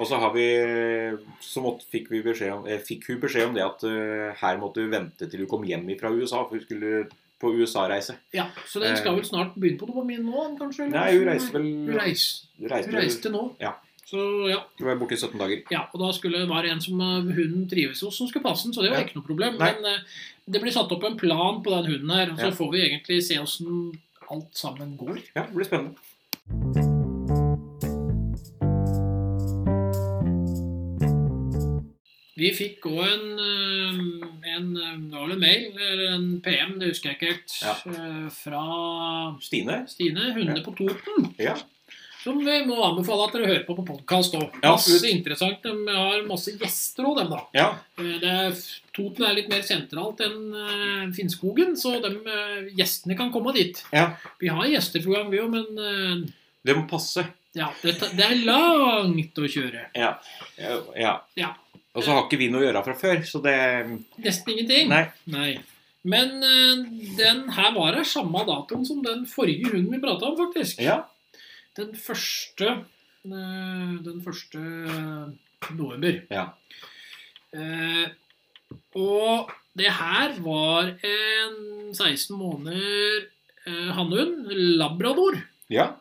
Og så har vi Så måtte, fikk, vi beskjed om, eh, fikk hun beskjed om det at eh, her måtte hun vente til hun kom hjem fra USA, for hun skulle på USA-reise. Ja, så den skal Eh. vel snart begynne på dopamin nå, kanskje? eller? Nei, hun reiste vel Hun reis- reiste, hun reiste nå. Ja. Så ja. Hun var borte i 17 dager. Ja, og da skulle, var det en som eh, hunden trives hos, som skulle passe den. Så det var Ja. ikke noe problem. Nei. Men eh, det blir satt opp en plan på den hunden her, og så Ja. får vi egentlig se åssen alt sammen går. Ja, det blir spennende. Vi fikk òg en, eh, en, eh, det var vel en mail, eller en PM, det husker jeg ikke helt, Ja. eh, fra Stine? Stine, hundene på Toten. Ja. Som vi må anbefale at dere hører på på podkast òg. Ja, Masse absolutt. interessant. De har masse gjester òg, dem, da. Ja. Eh, Det er, Toten er litt mer sentralt enn eh, Finnskogen, så de, eh, gjestene kan komme dit. Ja. Vi har gjester på gang, vi òg, men eh, Det må passe. ja, det, ta- det er langt å kjøre. Ja, Ja. Ja. Og så har ikke vi noe å gjøre fra før, så det Nesten ingenting. Nei. Nei. Men eh, den her var her samme datoen som den forrige hunden vi prata om, faktisk. Ja. Den første eh, Den første eh, november. Ja. Eh, og det her var en 16 måneder eh, hannhund, labrador, ja.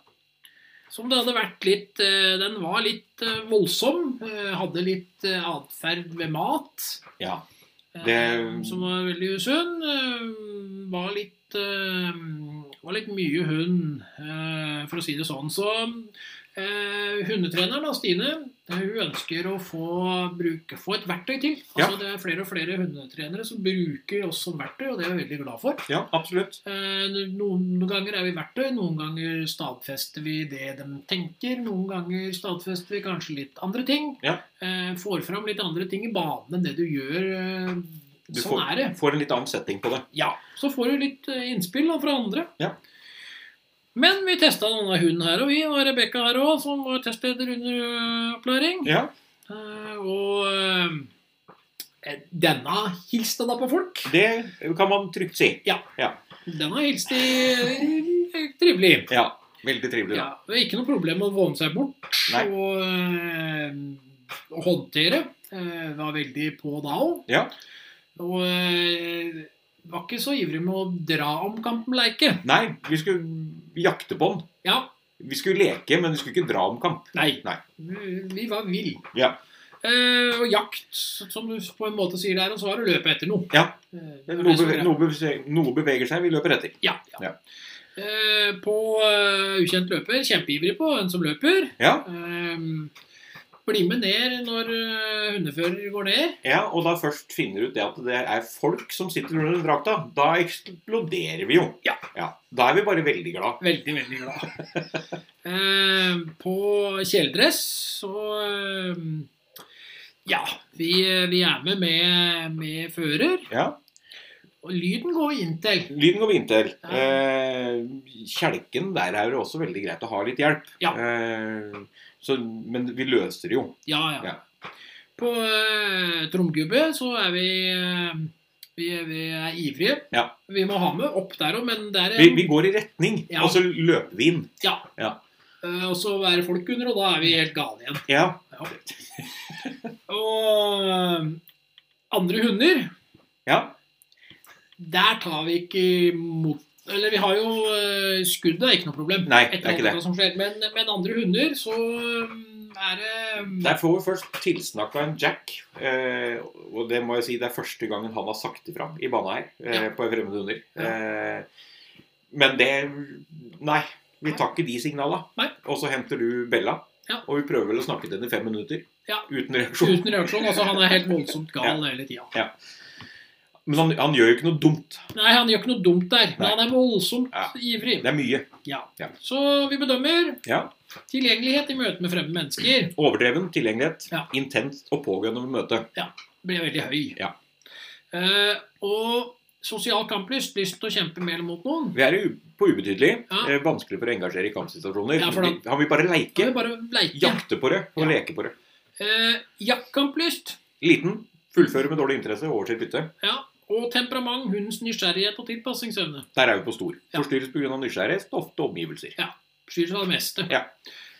som det hadde vært litt eh, Den var litt eh, voldsom, eh, hadde litt eh, atferd ved mat. Ja. Eh, Det- Som var veldig usunn. eh, Var litt, eh, var litt mye hund, eh, for å si det sånn. Så eh, hundetreneren, da, Stine, eh, hun ønsker å få, bruke, få et verktøy til. Ja. Altså, Det er flere og flere hundetrenere som bruker oss som verktøy, og det er jeg veldig glad for. Ja, absolutt. Eh, Noen ganger er vi verktøy, noen ganger stadfester vi det de tenker. Noen ganger stadfester vi kanskje litt andre ting. Ja. Eh, Får fram litt andre ting i banen enn det du gjør. eh, Du sånn får, er det. får en litt annen setting på det. Ja, Så får du litt eh, innspill da, fra andre. Ja. Men vi testa denne hunden her, og vi og Rebekka her òg, som var testleder under eh, opplæring. Ja, Eh, Og eh, denne hilste da på folk. det kan man trygt si. Denne hilste eh, trivelig. Ja, veldig trivelig. Da. Ja, det er ikke noe problem å våne seg bort Nei. og eh, å håndtere. Eh, var veldig på da òg. Ja. Og eh, var ikke så ivrig med å dra om kampen leike. Nei, vi skulle jakte på den. Ja, Vi skulle leke, men vi skulle ikke dra om kamp. nei. Nei. Vi, vi var vill. Ja. Eh, og jakt, som du på en måte sier der, og så er det å løpe etter noe. Ja. Eh, det er Noe, det som beve er- noe, beveger, noe beveger seg, vi løper etter. Ja. ja. Ja. Eh, på eh, ukjent løper, kjempeivrig på en som løper. Ja, Ehm, Bli med ned når eh, hundefører går ned. ja, og da først finner du ut det at det er folk som sitter under den drakta. Da eksploderer vi jo. Ja. Da er vi bare veldig glad. Veldig, veldig glad. Ehm, på kjeledress så ehm, Ja, vi, vi er med med, med fører. Ja. Og lyden går vi inn til. Lyden går vi inn til. Ja. Eh, kjelken der er det også veldig greit å ha litt hjelp. Ja. Eh, så, men vi løser det jo. Ja, ja. Ja. På uh, tromgubbe så er vi eh, vi, vi er ivrige. Ja. Vi må ha med opp der òg, men der er Vi, vi går i retning, Um, Ja. og så løper vi inn. Ja. Ja. Eh, og så er det folk under, og da er vi helt gale igjen. Ja, Og eh, andre hunder, ja. der tar vi ikke imot Eller vi har jo eh, skuddet, er ikke noe problem. Nei, det Etter er alt ikke det. dette Som skjer. Men, men andre hunder, så eh, er det Der får vi først tilsnakk av en Jack. Eh, og det må jeg si, det er første gangen han har sagt ifra i bana her, eh, Ja. på Fremmede hunder. Eh, men det Nei. Vi tar ikke de signala. Nei. Og så henter du Bella, Ja. og vi prøver vel å snakke til henne i fem minutter. Ja. Uten reaksjon. Uten reaksjon. Altså, han er helt voldsomt gal hele tida. Men han, han gjør jo ikke noe dumt. Nei, han gjør ikke noe dumt der, men Nei. han er voldsomt Ja. ivrig. Det er mye. Ja. Ja. Så vi bedømmer Ja. tilgjengelighet i møte med fremmede mennesker. Overdreven tilgjengelighet. Ja. Intenst og pågående møte. Blir veldig høy. Ja. Eh, og sosial kamplyst, lyst til å kjempe med eller mot noen. Vi er jo på ubetydelig. Ja. Eh, vanskelig for å engasjere i kampsituasjoner. Ja, for da- Vi- Han vil bare Da leike. er det bare å leike. Jakte på det og Ja. leke på det. Eh, jaktkamplyst Liten. Fullfører med dårlig interesse. Overser bytte. ja. og temperament, hundens nysgjerrighet og tilpassingsevne. Der er vi på stor. Ja. Forstyrres pga. nysgjerrighet, ofte omgivelser. Skyr seg det meste. Ja.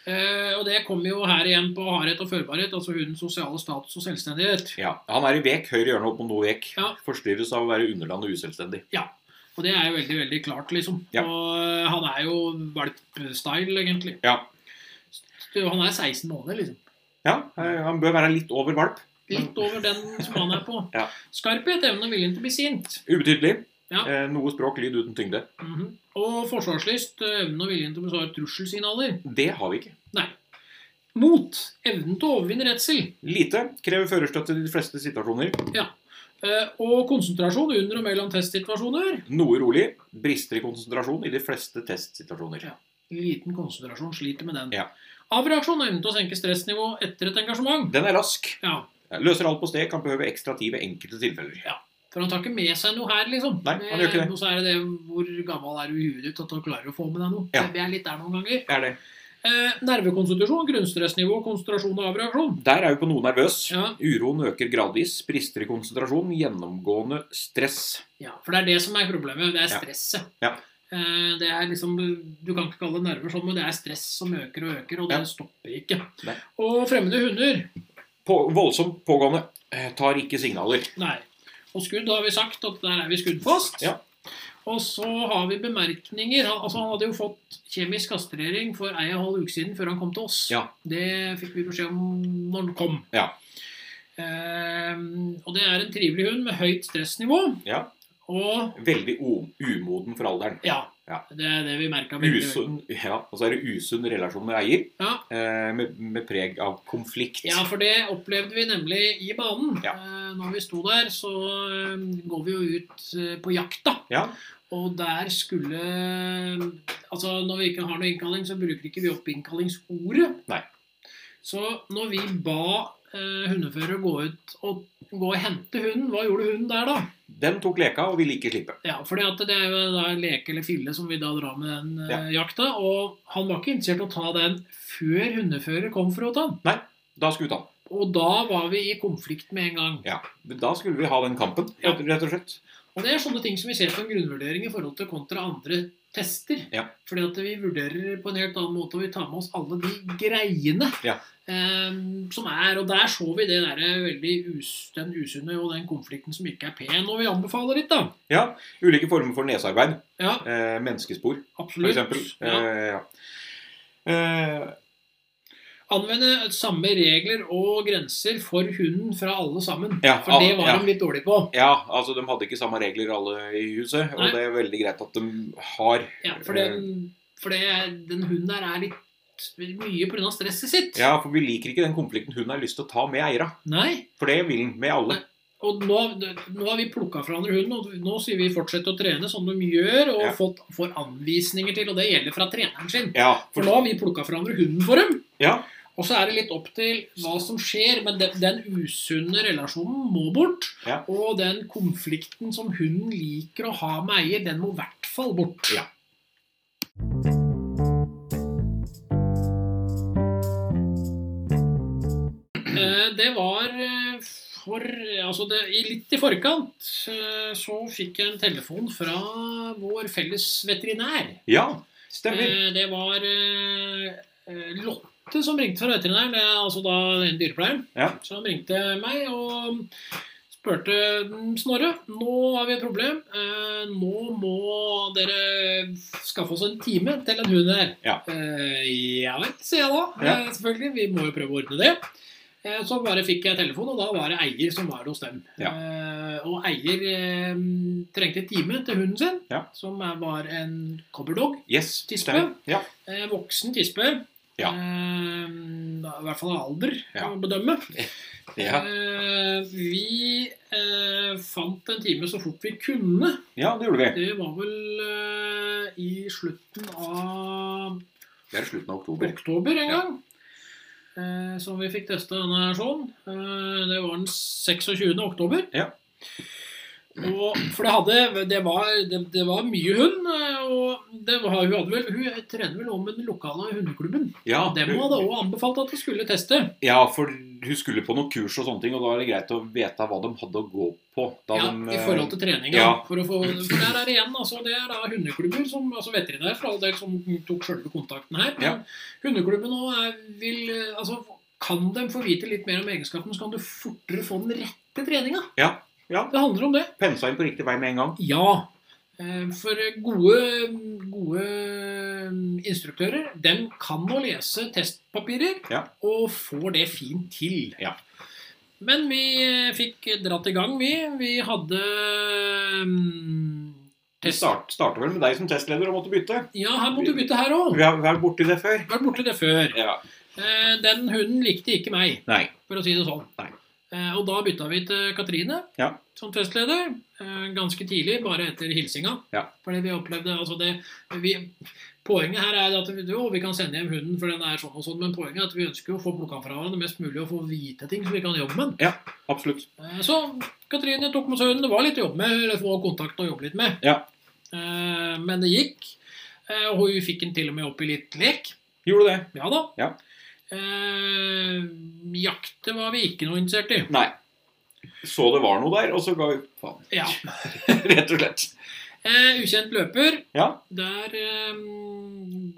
Eh, og det kommer jo her igjen på hardhet og førbarhet, altså hundens sosiale status og selvstendighet. Ja, Han er i vek, høyre hjørne opp mot noe vek. Ja. Forstyrres av å være underland og uselvstendig. Og det er jo veldig, veldig klart, liksom. Ja. Og eh, han er jo valp-style, egentlig. Ja. Så Han er 16 måneder, liksom. Ja, eh, Han bør være litt over valp. Litt over den som han er på. Ja. Skarphet, evne og viljen til å bli sint. Ubetydelig. Ja. Eh, noe språk, lyd uten tyngde. Mhm. Og forsvarslyst, evne og viljen til å besvare trusselsignaler. Det har vi ikke. Mot, evnen til å overvinne redsel. Lite. Krever førerstøtte i de fleste situasjoner. Eh, Og konsentrasjon under og mellom testsituasjoner. Noe rolig. Brister i konsentrasjon i de fleste testsituasjoner. Ja. Liten konsentrasjon, sliter med den. Ja. Avreaksjon, evnen til å senke stressnivå etter et engasjement. Den er rask. Ja, Løser alt på sted. Kan behøve ekstra tid ved enkelte tilfeller. For han tar ikke med seg noe her, liksom. Nei, han gjør ikke det. Og så er det det hvor gammel er du i huet ditt at du klarer å få med deg noe. Ja. Vi er litt der noen ganger. Er det. Eh, nervekonstitusjon, grunnstressnivå, konsentrasjon og avreaksjon. Der er vi på noe nervøs. Ja. Uroen øker gradvis. Brister i konsentrasjon. Gjennomgående stress. ja, For det er det som er problemet. Det er Ja. stresset. Ja. Eh, Det er liksom, Du kan ikke kalle det nerver sånn, men det er stress som øker og øker, og Ja. det stopper ikke. Nei. Og fremmede hunder på, voldsomt pågående. Eh, Tar ikke signaler. Nei. Og skudd har vi sagt at der er vi skuddfast. Ja. Og så har vi bemerkninger. Han, altså, han hadde jo fått kjemisk kastrering for ei og en halv uke siden før han kom til oss. Ja. Det fikk vi beskjed om når han kom. Ja. Ehm, og det er en trivelig hund med høyt stressnivå. Ja. Og Veldig o- umoden for alderen. ja, Ja. det er det vi merka veldig. veldig. Usunn, ja, og så er det usunn relasjon med eier, Ja. eh, med, med preg av konflikt. Ja, for det opplevde vi nemlig i banen. Ja. Eh, Når vi sto der, så eh, går vi jo ut eh, på jakt, da. Ja. Og der skulle Altså, når vi ikke har noe innkalling, så bruker ikke vi opp innkallingsordet. Nei. Så når vi ba eh, hundefører gå ut og gå og hente hunden, hva gjorde hunden der, da? Den tok leka og ville ikke slippe. Ja, fordi at det er jo da leke eller fille som vi da drar med den eh, Ja. jakta. Og han var ikke interessert i å ta den før hundefører kom for å ta den. Da skulle vi ta den. Og da var vi i konflikt med en gang. Ja. Da skulle vi ha den kampen, Ja. rett og slett. Og det er sånne ting som vi ser på en grunnvurdering i forhold til kontra andre tester. Ja. Fordi at vi vurderer på en helt annen måte, og vi tar med oss alle de greiene Ja. eh, som er. Og der så vi det der eh, veldig us, den usunne og den konflikten som ikke er pen. Og vi anbefaler litt, da. Ja, Ulike former for nesearbeid. Ja, Eh, menneskespor, for absolutt. eksempel. Ja. Eh, ja. Eh, Anvende samme regler og grenser for hunden fra alle sammen. Ja, for det al- var Ah, ja. de litt dårlige på. ja, altså De hadde ikke samme regler alle i huset, Nei. og det er veldig greit at de har Ja, for Eh. den, for det, den hunden der er litt mye pga. stresset sitt. Ja, for vi liker ikke den konflikten hun har lyst til å ta med eierne. Nei. For det vil han med alle. Og nå, nå har vi plukka fra andre hund, og nå sier vi fortsette å trene som de gjør, og Ja. fått, får anvisninger til, og det gjelder fra treneren sin. Ja, For nå har vi plukka fra andre hunden for dem. Ja. Og så er det litt opp til hva som skjer, men den, den usunne relasjonen må bort. Ja. Og den konflikten som hunden liker å ha med eier, den må i hvert fall bort. Ja. Eh, Det var eh, for Altså det, i- litt i forkant eh, så fikk jeg en telefon fra vår felles veterinær. ja stemmer. Eh, Det var eh, eh, Lotte som ringte fra veterinæren, det er altså da den dyrepleieren, Ja. som ringte meg og spurte "Mm, Snorre, nå har vi et problem. Eh, Nå må dere skaffe oss en time til en hund her. Ja. Eh, Ja vel, sier jeg da. Ja. Eh, Selvfølgelig. Vi må jo prøve å ordne det. Eh, Så bare fikk jeg telefon, og da var det eier som var hos dem. Ja. Eh, Og eier eh, trengte en time til hunden sin, Ja. som er- var en cobberdog. Yes, Tispe? stemmer. Ja. Eh, voksen tispe. Ja. Eh, da, I hvert fall alder Ja. å bedømme. Ja. Eh, vi eh, fant en time så fort vi kunne. ja, det gjorde vi. Det var vel eh, i slutten av Det er slutten av oktober. oktober en Ja. gang. Eh, som vi fikk testa denne her sånn. Eh, det var den 26. oktober. Ja. Og, for det, hadde, det, var, det, det var mye hund. eh, Og det var, hun, hadde vel, hun trener vel om med den lokale hundeklubben. Ja, Og Dem hadde også anbefalt at du skulle teste. ja, for hun skulle på noen kurs og sånne ting, og da er det greit å vite hva de hadde å gå på. Da Ja, de, I eh, forhold til treninga. ja. For, å få, for der er det igjen, altså, det er da hundeklubber, som, altså veterinær for all del, som tok sjølve kontakten her. Men Ja. hundeklubben nå er, vil eh, Altså, kan de få vite litt mer om egenskapen, så kan du fortere få den rette treninga. Ja, ja. Det handler om det. Pensa eh, inn på riktig vei med en gang. Ja. eh, For gode, gode mm, instruktører, dem kan å lese testpapirer, Ja. og får det fint til. Ja. Men vi eh, fikk dratt i gang, vi. Vi hadde mm, Vi test... start, starter vel med deg som testleder og måtte bytte. Ja, her måtte du bytte her òg. Vi har vært borti det før. Vært borti det før. Ja. Eh, Den hunden likte ikke meg, Nei. for å si det sånn. Nei. Eh, Og da bytta vi til Katrine Ja. som testleder. eh, Ganske tidlig, bare etter hilsinga. Ja. Fordi vi opplevde altså det, vi, Poenget her er at vi, jo, vi kan sende hjem hunden, for den er sånn og sånn, men poenget er at vi ønsker jo å få plukka fra hverandre mest mulig og få vite ting som vi kan jobbe med. Absolutt. Eh, Så Katrine tok med seg hunden. Det var litt å jobbe med, eller få kontakt og jobbe litt med. Ja. Eh, Men det gikk. Eh, Og hun fikk den til og med opp i litt lek. Gjorde det. Ja da. Ja. Eh, jakte var vi ikke noe interessert i. Nei. Så det var noe der, og så ga vi faen. Ja. Rett og slett. Eh, ukjent løper. Ja. Der eh,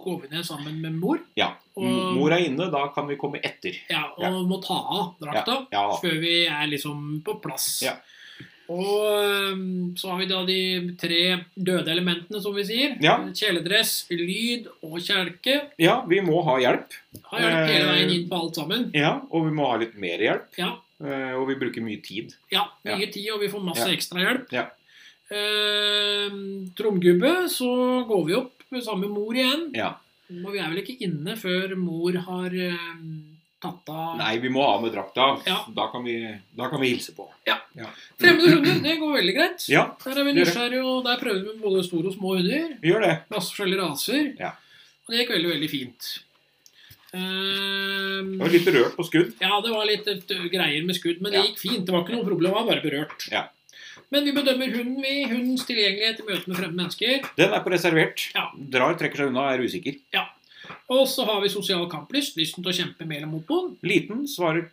går vi ned sammen med mor. Ja. Og- M- Mor er inne, da kan vi komme etter. Ja, og Ja. må ta av drakta Ja, ja. før vi er liksom på plass. Ja. Og øhm, så har vi da de tre døde elementene, som vi sier. Ja. Kjeledress, lyd og kjelke. Ja, vi må ha hjelp. Har hjelp hele Eh. veien inn på alt sammen. Ja, og vi må ha litt mer hjelp. Ja. Eh, og vi bruker mye tid. Ja, mye tid, og vi får masse Ja. ekstra hjelp. Ja. Eh, Tromgubbe, så går vi opp sammen med mor igjen. Ja. Og vi er vel ikke inne før mor har eh, tatt av Nei, vi må ha med drakta. Ja. Da, kan vi, da kan vi hilse på. Fremmede hunder, det går veldig greit. Ja, Der er vi Gjør det. nysgjerrige, og der prøver vi både store og små hunder. vi gjør det. Masse forskjellige raser. Ja. Og det gikk veldig, veldig fint. Eh, Jeg var litt berørt på skudd. Ja, det var litt eh, greier med skudd, men det Ja. gikk fint. Det var ikke noe problem, han var bare berørt. Ja. Men vi bedømmer hunden, vi. Hundens tilgjengelighet i møte med fremmede mennesker. Den er på reservert. Ja. Drar, trekker seg unna, er usikker. Og så har vi sosial kamplyst, lysten til å kjempe med eller mot noen. Liten svarer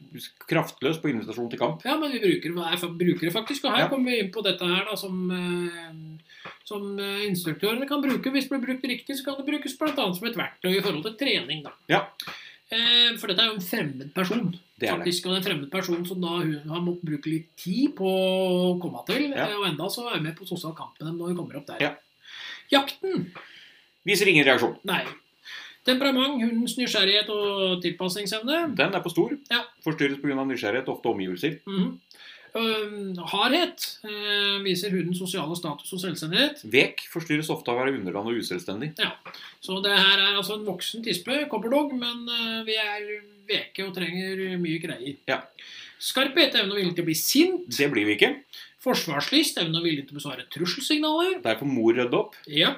kraftløs på invitasjon til kamp. Ja, men vi bruker, er, bruker det faktisk. Og her Ja. kommer vi inn på dette her da, som, eh, som eh, instruktørene kan bruke. Hvis det blir brukt riktig, så kan det brukes bl.a. som et verktøy i forhold til trening. da. Ja. Eh, For dette er jo en fremmed person. Det er det. faktisk, og det er en fremmed person som da hun har måttet bruke litt tid på å komme til. Ja. eh, Og enda så er hun med på sosial kamp med dem når hun kommer opp der. Ja. Jakten? Viser ingen reaksjon. Nei. Temperament, hundens nysgjerrighet og tilpasningsevne. Den er på stor. Ja. Forstyrres pga. nysgjerrighet, ofte omgivelser. Mhm. Øhm, hardhet eh, viser hundens sosiale status og selvstendighet. Vek forstyrres ofte av å være underland og uselvstendig. Så det her er altså en voksen tispe, copperdog, men eh, vi er veke og trenger mye greier. Ja. Skarphet, evne og vilje til å bli sint. Det blir vi ikke. Forsvarslyst, evne og vilje til å besvare trusselsignaler. Derfor må mor rydde opp. Ja.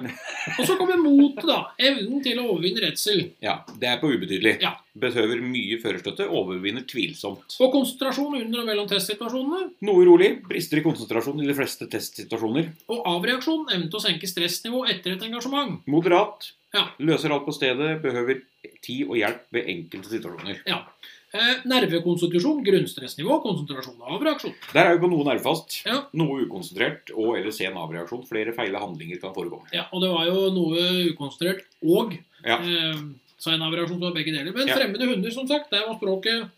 Og så kommer motet, da. Evnen til å overvinne redsel. Ja, Det er på ubetydelig. Ja. Behøver mye førerstøtte. Overvinner tvilsomt. Og konsentrasjon under og mellom testsituasjonene. Noe rolig. Brister i konsentrasjon i de fleste testsituasjoner. Og avreaksjon, evnen til å senke stressnivå etter et engasjement. Moderat. Ja. Løser alt på stedet. Behøver tid og hjelp ved enkelte situasjoner. Eh, nervekonstitusjon, grunnstressnivå, konsentrasjon og avreaksjon. Der er vi på noe nervefast. Ja. Noe ukonsentrert og eller sen avreaksjon. Flere feile handlinger kan forekomme. Ja, Og det var jo noe ukonsentrert og Ja. eh, så en avreaksjon som var begge deler. Men Ja. fremmede hunder, som sagt, der var språket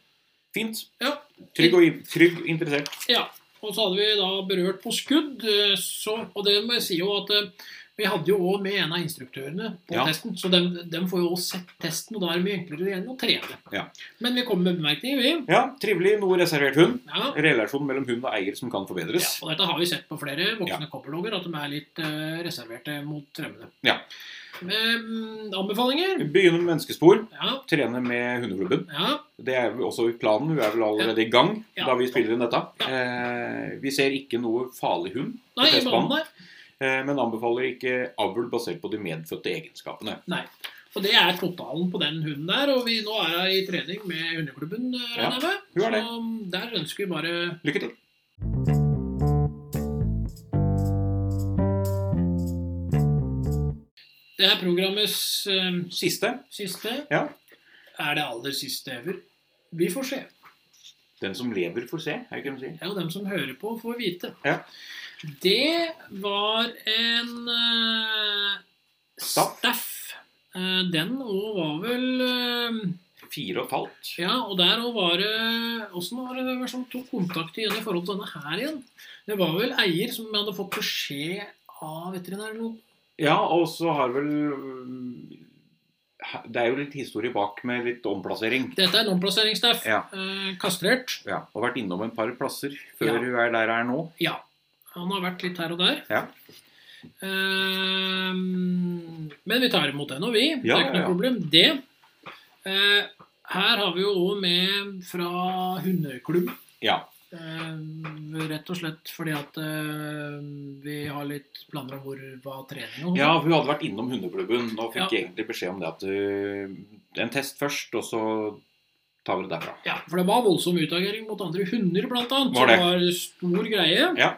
Fint. Ja. Trygg og in- trygg, interessert. Ja. Og så hadde vi da berørt på skudd, eh, så, og det må jeg si jo at eh, vi hadde jo òg med en av instruktørene på Ja. testen, så dem, dem får jo òg sett testen, og da er det mye enklere igjen å trene. Ja. Men vi kommer med bemerkninger, vi. Ja, trivelig. Noe reservert hund. Ja. Relasjonen mellom hund og eier som kan Ja, forbedres. og dette har vi sett på flere voksne kopperdogger, at de er litt eh, reserverte mot fremmede. Ja. Ehm, anbefalinger? Begynne med menneskespor. Ja. Trene med hundeklubben. ja. Det er jo også planen. Vi er vel allerede i gang Ja. da vi spiller inn dette. Eh, vi ser ikke noe farlig hund, Nei, i Testbanen. banen der. eh, men anbefaler ikke avl basert på de medfødte egenskapene. Nei. Og det er totalen på den hunden der. Og vi, nå er jeg i trening med hundeklubben, eh, Ja, regner jeg med. hun er det. Så mm, der ønsker vi bare Lykke til. Det er programmets eh, Siste. siste. Ja. Er det aller siste ever? Vi får se. Den som lever, får se. Er det ikke det de sier? Ja, og dem som hører på, får vite. Ja. Det var en eh, Staff. staff. Eh, den òg var vel eh, Fire og et halvt. Ja, og der òg var det Åssen var det hvem som tok kontakt igjen i forhold til denne her igjen? Det var vel eier som hadde fått beskjed av veterinær eller noe. Ja, og så har vel mm, Det er jo litt historie bak med litt omplassering. Dette er en omplasseringsstaff. Ja. Eh, kastrert. Ja, Og vært innom en par plasser før Ja. hun er der hun er nå. Ja. Han har vært litt her og der. Ja. Ehm, men vi tar imot den og vi. det Ja, er ikke noe ja, ja. problem. Det. Eh, her har vi jo òg med fra hundeklubb. Ja. Ehm, rett og slett fordi at eh, vi har litt planer om hvor, hva trening og sånn. sånt. Ja, hun hadde vært innom hundeklubben og fikk Mm. Ja. egentlig beskjed om det at uh, En test først, og så tar vi det derfra. Ja, for det var voldsom utagering mot andre hunder, blant annet. Var det? Som var stor greie. Ja.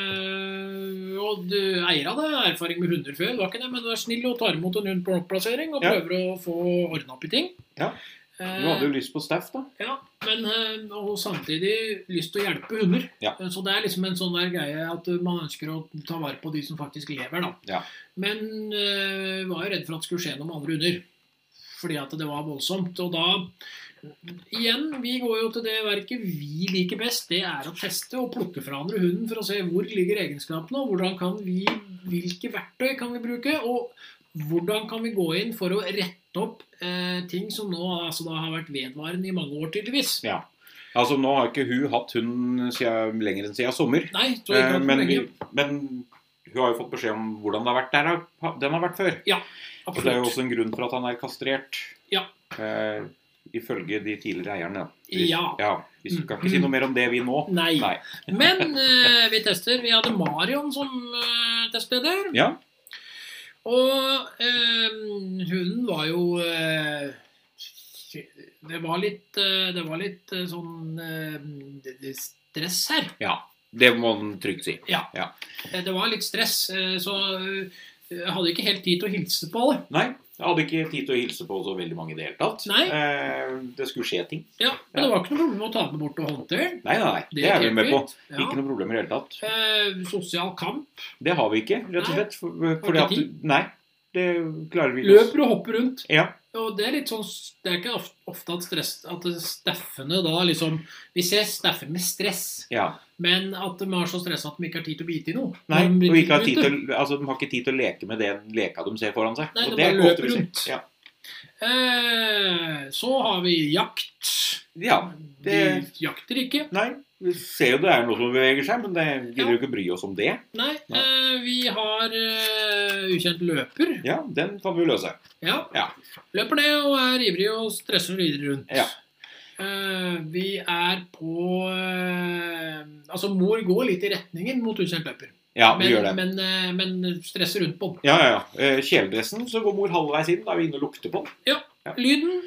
Eh, og du, eier av det har erfaring med hunder før, det var ikke det, men du er snill og tar imot en hund på plassering og Ja. prøver å få ordna opp i ting. Ja. Hun hadde jo lyst på staff, da. Ja, men eh, og samtidig lyst til å hjelpe hunder. Ja. Eh, Så det er liksom en sånn der greie at eh, man ønsker å ta vare på de som faktisk lever, da. Ja. Men eh, var jo redd for at det skulle skje noe med andre hunder. Fordi at det var voldsomt. Og da Igjen, vi går jo til det verket vi liker best. Det er å teste og plukke fra andre hunden for å se hvor ligger egenskapene, og hvordan kan vi, hvilke verktøy kan vi bruke, og hvordan kan vi gå inn for å rette opp eh, ting som nå altså, da har vært vedvarende i mange år, tydeligvis. Ja. Altså, nå har ikke hun hatt hund siden, lenger enn siden sommer. Nei, jeg tror ikke Eh, det men, var vi, lenge. men hun har jo fått beskjed om hvordan det har vært der da- den har vært før. Og det er jo Absolutt. også en grunn for at han er kastrert. Ja. Eh, ifølge de tidligere eierne. da. Vi- Ja. Mm. ja. Vi skal ikke si noe mer om det, vi nå. Nei. Nei. Men eh, vi tester. Vi hadde Marion som eh, testleder. Ja. Og eh, hunden var jo eh, Det var litt, eh, det var litt eh, sånn eh, stress her. ja. Det må man trygt si. Eh, Det var litt stress, eh, så eh, jeg hadde ikke helt tid til å hilse på alle. Nei. Jeg hadde ikke tid til å hilse på så veldig mange i det hele tatt. Nei. Eh, det skulle skje ting. Ja, Ja. men det var ikke noe problem å ta den bort og håndtere den. Nei, nei, nei. Det er vi helt med på. fint. Ja. Ikke noe problem i det hele tatt. Eh, sosial kamp. Det har vi ikke, rett og Nei. slett. For, fordi at Nei. Det klarer vi ikke. Løper og hopper rundt. Ja. Og det er litt sånn Det er ikke of- ofte at, stress, at Steffene da liksom Vi ser Steffer med stress, ja. men at de er så stressa at de ikke har tid til å bite i noe. Nei, De blir og ikke har tid biter. til, å- altså, de har ikke tid til å leke med den leka de ser foran seg. Nei, og de det er bare ikke ofte løper vi ser. rundt. Ja. Eh, så har vi jakt. ja. det- De jakter ikke. Nei, vi ser jo det er noe som beveger seg, men det gidder jo ikke bry oss om det. Nei, Nei. eh, vi har eh, ukjent løper. Ja, den kan vi jo løse. Ja. Ja. Løper ned og er ivrig og stresser videre rundt. Ja. Eh, vi er på eh, Altså, mor går litt i retningen mot ukjent løper. Ja, vi men, gjør det. men, eh, men stresser rundt på den. Ja, ja, ja. Eh, Kjeledressen, så går mor halvveis inn. Da er vi inne og lukter på den. Lyden,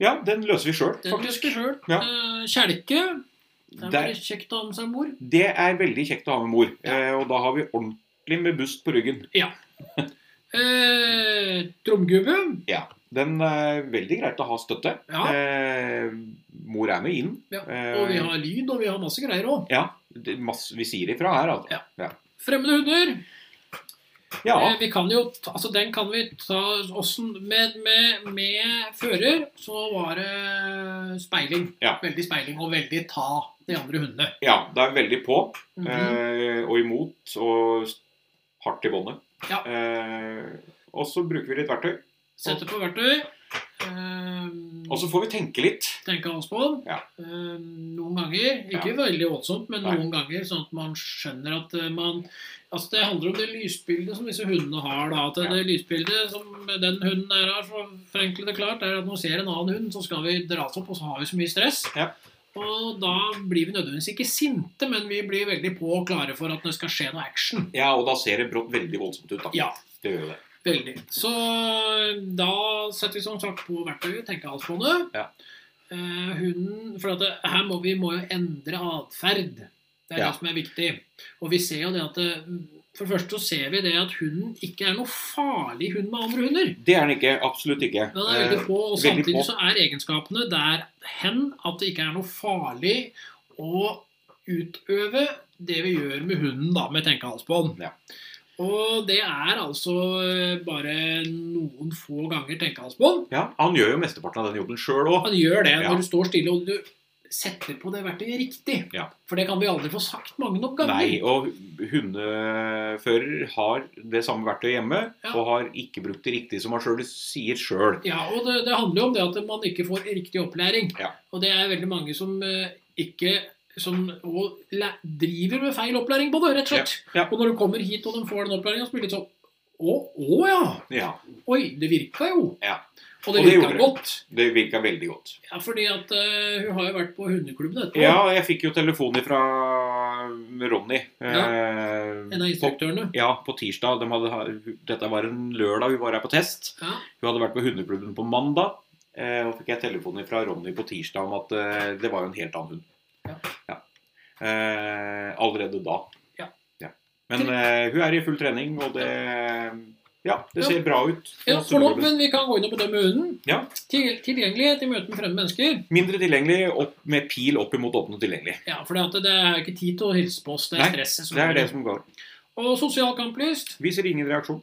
Ja, den løser vi sjøl, den faktisk. husker sjøl. Ja. Eh, Kjelke. Det er Der. bare kjekt å ha med seg mor. Det er veldig kjekt å ha med mor. Eh, og da har vi ordentlig med bust på ryggen. Eh, Tromgubbe. Den er veldig greit å ha støtte. Ja. Eh, mor er med inn. Ja, Eh, Og vi har lyd, og vi har masse greier òg. ja, det, masse, vi sier ifra her, altså. Fremmede hunder. Ja. Eh, Vi kan jo, ta- altså Den kan vi ta åssen med, med, med fører, så var det speiling. Ja. Veldig speiling, og veldig ta de andre hundene. ja det er veldig på. Mhm. eh, og imot, og s- hardt i båndet. Ja. Eh, og så bruker vi litt verktøy. Sette på verktøy. Eh, Og så får vi tenke litt. tenke oss på den. Ja. Eh, noen ganger. Ikke veldig voldsomt, men Nei. noen ganger sånn at man skjønner at eh, man Altså Det handler om det lysbildet som disse hundene har. da At det, Ja. det lysbildet som den hunden her har, for å forenkle det klart, er at nå ser en annen hund, så skal vi dras opp, og så har vi så mye stress. Ja. Og da blir vi nødvendigvis ikke sinte, men vi blir veldig på og klare for at det skal skje noe action. Ja, og da ser det brått veldig voldsomt ut. da. Ja. Det gjør jo det. Veldig. Så da setter vi som sagt på verktøyet, tenker alt på det. Ja. Eh, hunden For at det, her må vi må jo endre atferd. Det er Ja. det som er viktig. Og vi ser jo det at det, For det første så ser vi det at hunden ikke er noe farlig hund med andre hunder. Det er den ikke. Absolutt ikke. Den er veldig Eh, på, og veldig samtidig på. så er egenskapene der hen at det ikke er noe farlig å utøve det vi gjør med hunden da, med tenkehalsbånd. Ja. Og det er altså eh, bare noen få ganger tenkehalsbånd. Eh, ja, Han gjør jo mesteparten av den jobben sjøl òg. Man gjør det Ja. når du står stille og du setter på det verktøyet riktig. Ja. For det kan vi aldri få sagt mange nok ganger. Nei, og hundefører har det samme verktøyet hjemme Ja. og har ikke brukt det riktig, som han sjøl sier sjøl. Ja, og det, det handler jo om det at man ikke får riktig opplæring. Ja. Og det er veldig mange som eh, ikke som og læ- driver med feil opplæring på det, rett og slett. Ja, ja. Og når du kommer hit og de får den opplæringa, så blir det litt sånn Å, å ja! Ja, Oi, det virka jo! Ja. Og det Og det virka gjorde det. godt. det virka veldig godt. Ja, fordi at eh, hun har jo vært på hundeklubben etterpå. Ja, jeg fikk jo telefon fra Ronny. Ja. eh, En av på instruktørene. Ja, på tirsdag. De hadde, dette var en lørdag hun var her på test. Ja. Hun hadde vært på hundeklubben på mandag. Eh, og fikk jeg telefon fra Ronny på tirsdag om at eh, det var jo en helt annen hund. Ja. Eh, allerede da. Ja. Men eh, hun er i full trening, og det Ja, det Ja. ser bra ut. Ja, for nå, men vi kan gå inn og bedømme hunden. Ja. Til, tilgjengelighet i møte med fremmede mennesker. Mindre tilgjengelig opp, med pil opp imot åpne tilgjengelig. Ja, for det er ikke tid til å hilse på oss. Det er Nei, stresset som Det er det som går. Og sosial kamplyst. Viser ingen reaksjon.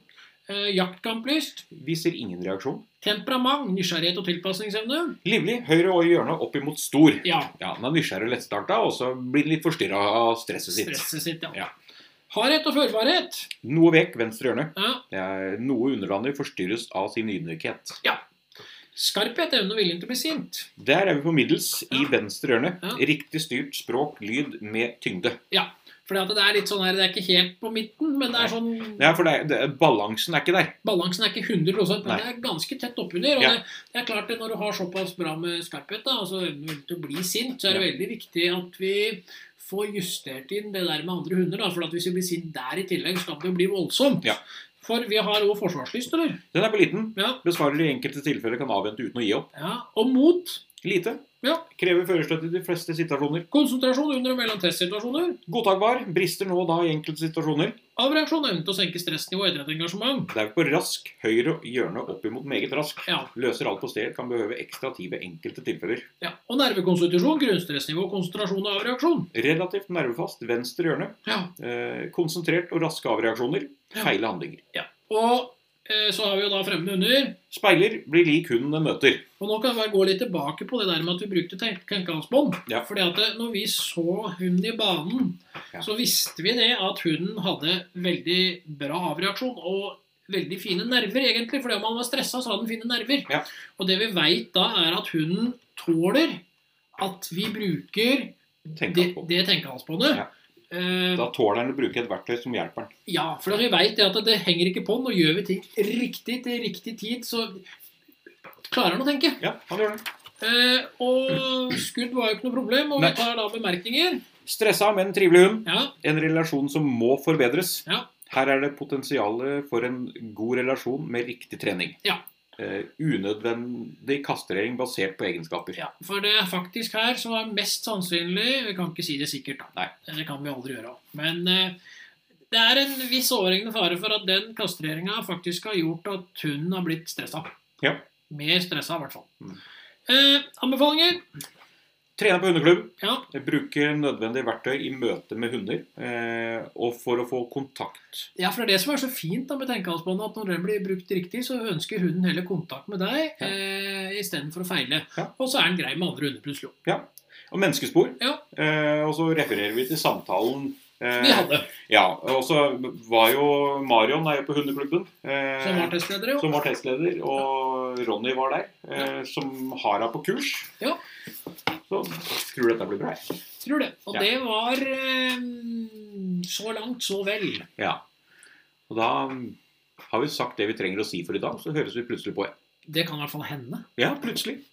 Eh, jaktkamplyst. Viser ingen reaksjon. Temperament, nysgjerrighet og tilpasningsevne. Livlig, høyre og i hjørnet opp imot stor. Ja, Ja, den er nysgjerrig og lettstarta, og så blir den litt forstyrra av stresset sitt. stresset sitt, ja. Ja. Hardhet og førbarhet. Noe vekk, venstre hjørne. Ja. Det er noe underlandig forstyrres av sin ydmykhet. Skarphet, evne og viljen til å bli sint. Der er vi på middels i Ja. venstre hjørne. Ja. Riktig styrt språk, lyd med tyngde. Fordi at det er litt sånn her, det er ikke helt på midten, men det er sånn Ja, for det, er- det, er- balansen er ikke der. Balansen er ikke 100 men Nei. det er ganske tett oppunder. Og Ja. det, det er klart det når du har såpass bra med skarphet, da, altså evnen vår til å bli sint, så er det veldig viktig at vi får justert inn det der med andre hunder. da, For at hvis vi blir sint der i tillegg, så kan det jo bli voldsomt. Ja. For vi har òg forsvarslyst, eller? Den er på liten. Ja. Besvarer i enkelte tilfeller kan avvente uten å gi opp. ja. Og mot. Lite. Ja. Krever førerstøtte i de fleste situasjoner. Konsentrasjon under og mellom testsituasjoner. Godtakbar. Brister nå og da i enkelte situasjoner. Avreaksjon, evne til å senke stressnivå etter et engasjement. Det er på rask høyre hjørne opp imot meget rask. Ja. Løser alt på sted, kan behøve ekstra tid ved enkelte tilfeller. ja. Og nervekonstitusjon, grunnstressnivå, konsentrasjon og avreaksjon. Relativt nervefast venstre hjørne. Ja. Eh, konsentrert og raske avreaksjoner. Ja. Feile handlinger. Og eh, så har vi jo da fremmede hunder. Speiler blir lik hunden den møter. Og nå kan jeg bare gå litt tilbake på det der med at vi brukte tenk- tenkeavsbånd. Ja. Fordi at eh, når vi så hunden i banen, Ja. så visste vi det at hunden hadde veldig bra avreaksjon og veldig fine nerver, egentlig. Fordi om han var stressa, så hadde han fine nerver. Ja. Og det vi veit da, er at hunden tåler at vi bruker Tenk det, på. det tenkehalsbåndet. Ja. Eh, Da tåler han å bruke et verktøy som hjelper han. ja, for vi veit at det henger ikke på den. Og gjør vi ting riktig til riktig tid, så klarer han å tenke. Ja, han gjør det. Eh, og skudd var jo ikke noe problem, og vi Nei. tar da bemerkninger. Stressa, men trivelig hund. Ja, En relasjon som må forbedres. Ja. Her er det potensialet for en god relasjon med riktig trening. Ja. Eh, unødvendig kastrering basert på egenskaper. ja, For det er faktisk her som er mest sannsynlig Vi kan ikke si det sikkert, da. Nei. Det kan vi aldri gjøre. Men eh, det er en viss overhengende fare for at den kastreringa faktisk har gjort at hunden har blitt stressa. Ja. Mer stressa, i hvert fall. Mm. Eh, anbefalinger? Trene på hundeklubb. Ja. Bruke nødvendige verktøy i møte med hunder. Eh, og for å få kontakt. Ja, for det er det som er så fint da med tenkehalsbåndet, at når den blir brukt riktig, så ønsker hunden heller kontakt med deg Ja. eh, istedenfor å feile. Ja. Og så er den grei med andre hunder plutselig. Og menneskespor. Ja. Eh, og så refererer vi til samtalen. eh, Vi hadde, Ja, og så var jo Marion er jo på hundeklubben. eh, som var testleder, jo. som var testleder, og Ronny var der, eh, som har henne på kurs. Ja. Så tror du dette blir bra? jeg. Tror det. Og Ja. det var eh, så langt, så vel. Ja. Og da mm, har vi sagt det vi trenger å si for i dag, så høres vi plutselig på. Det kan i hvert fall hende. Ja, plutselig.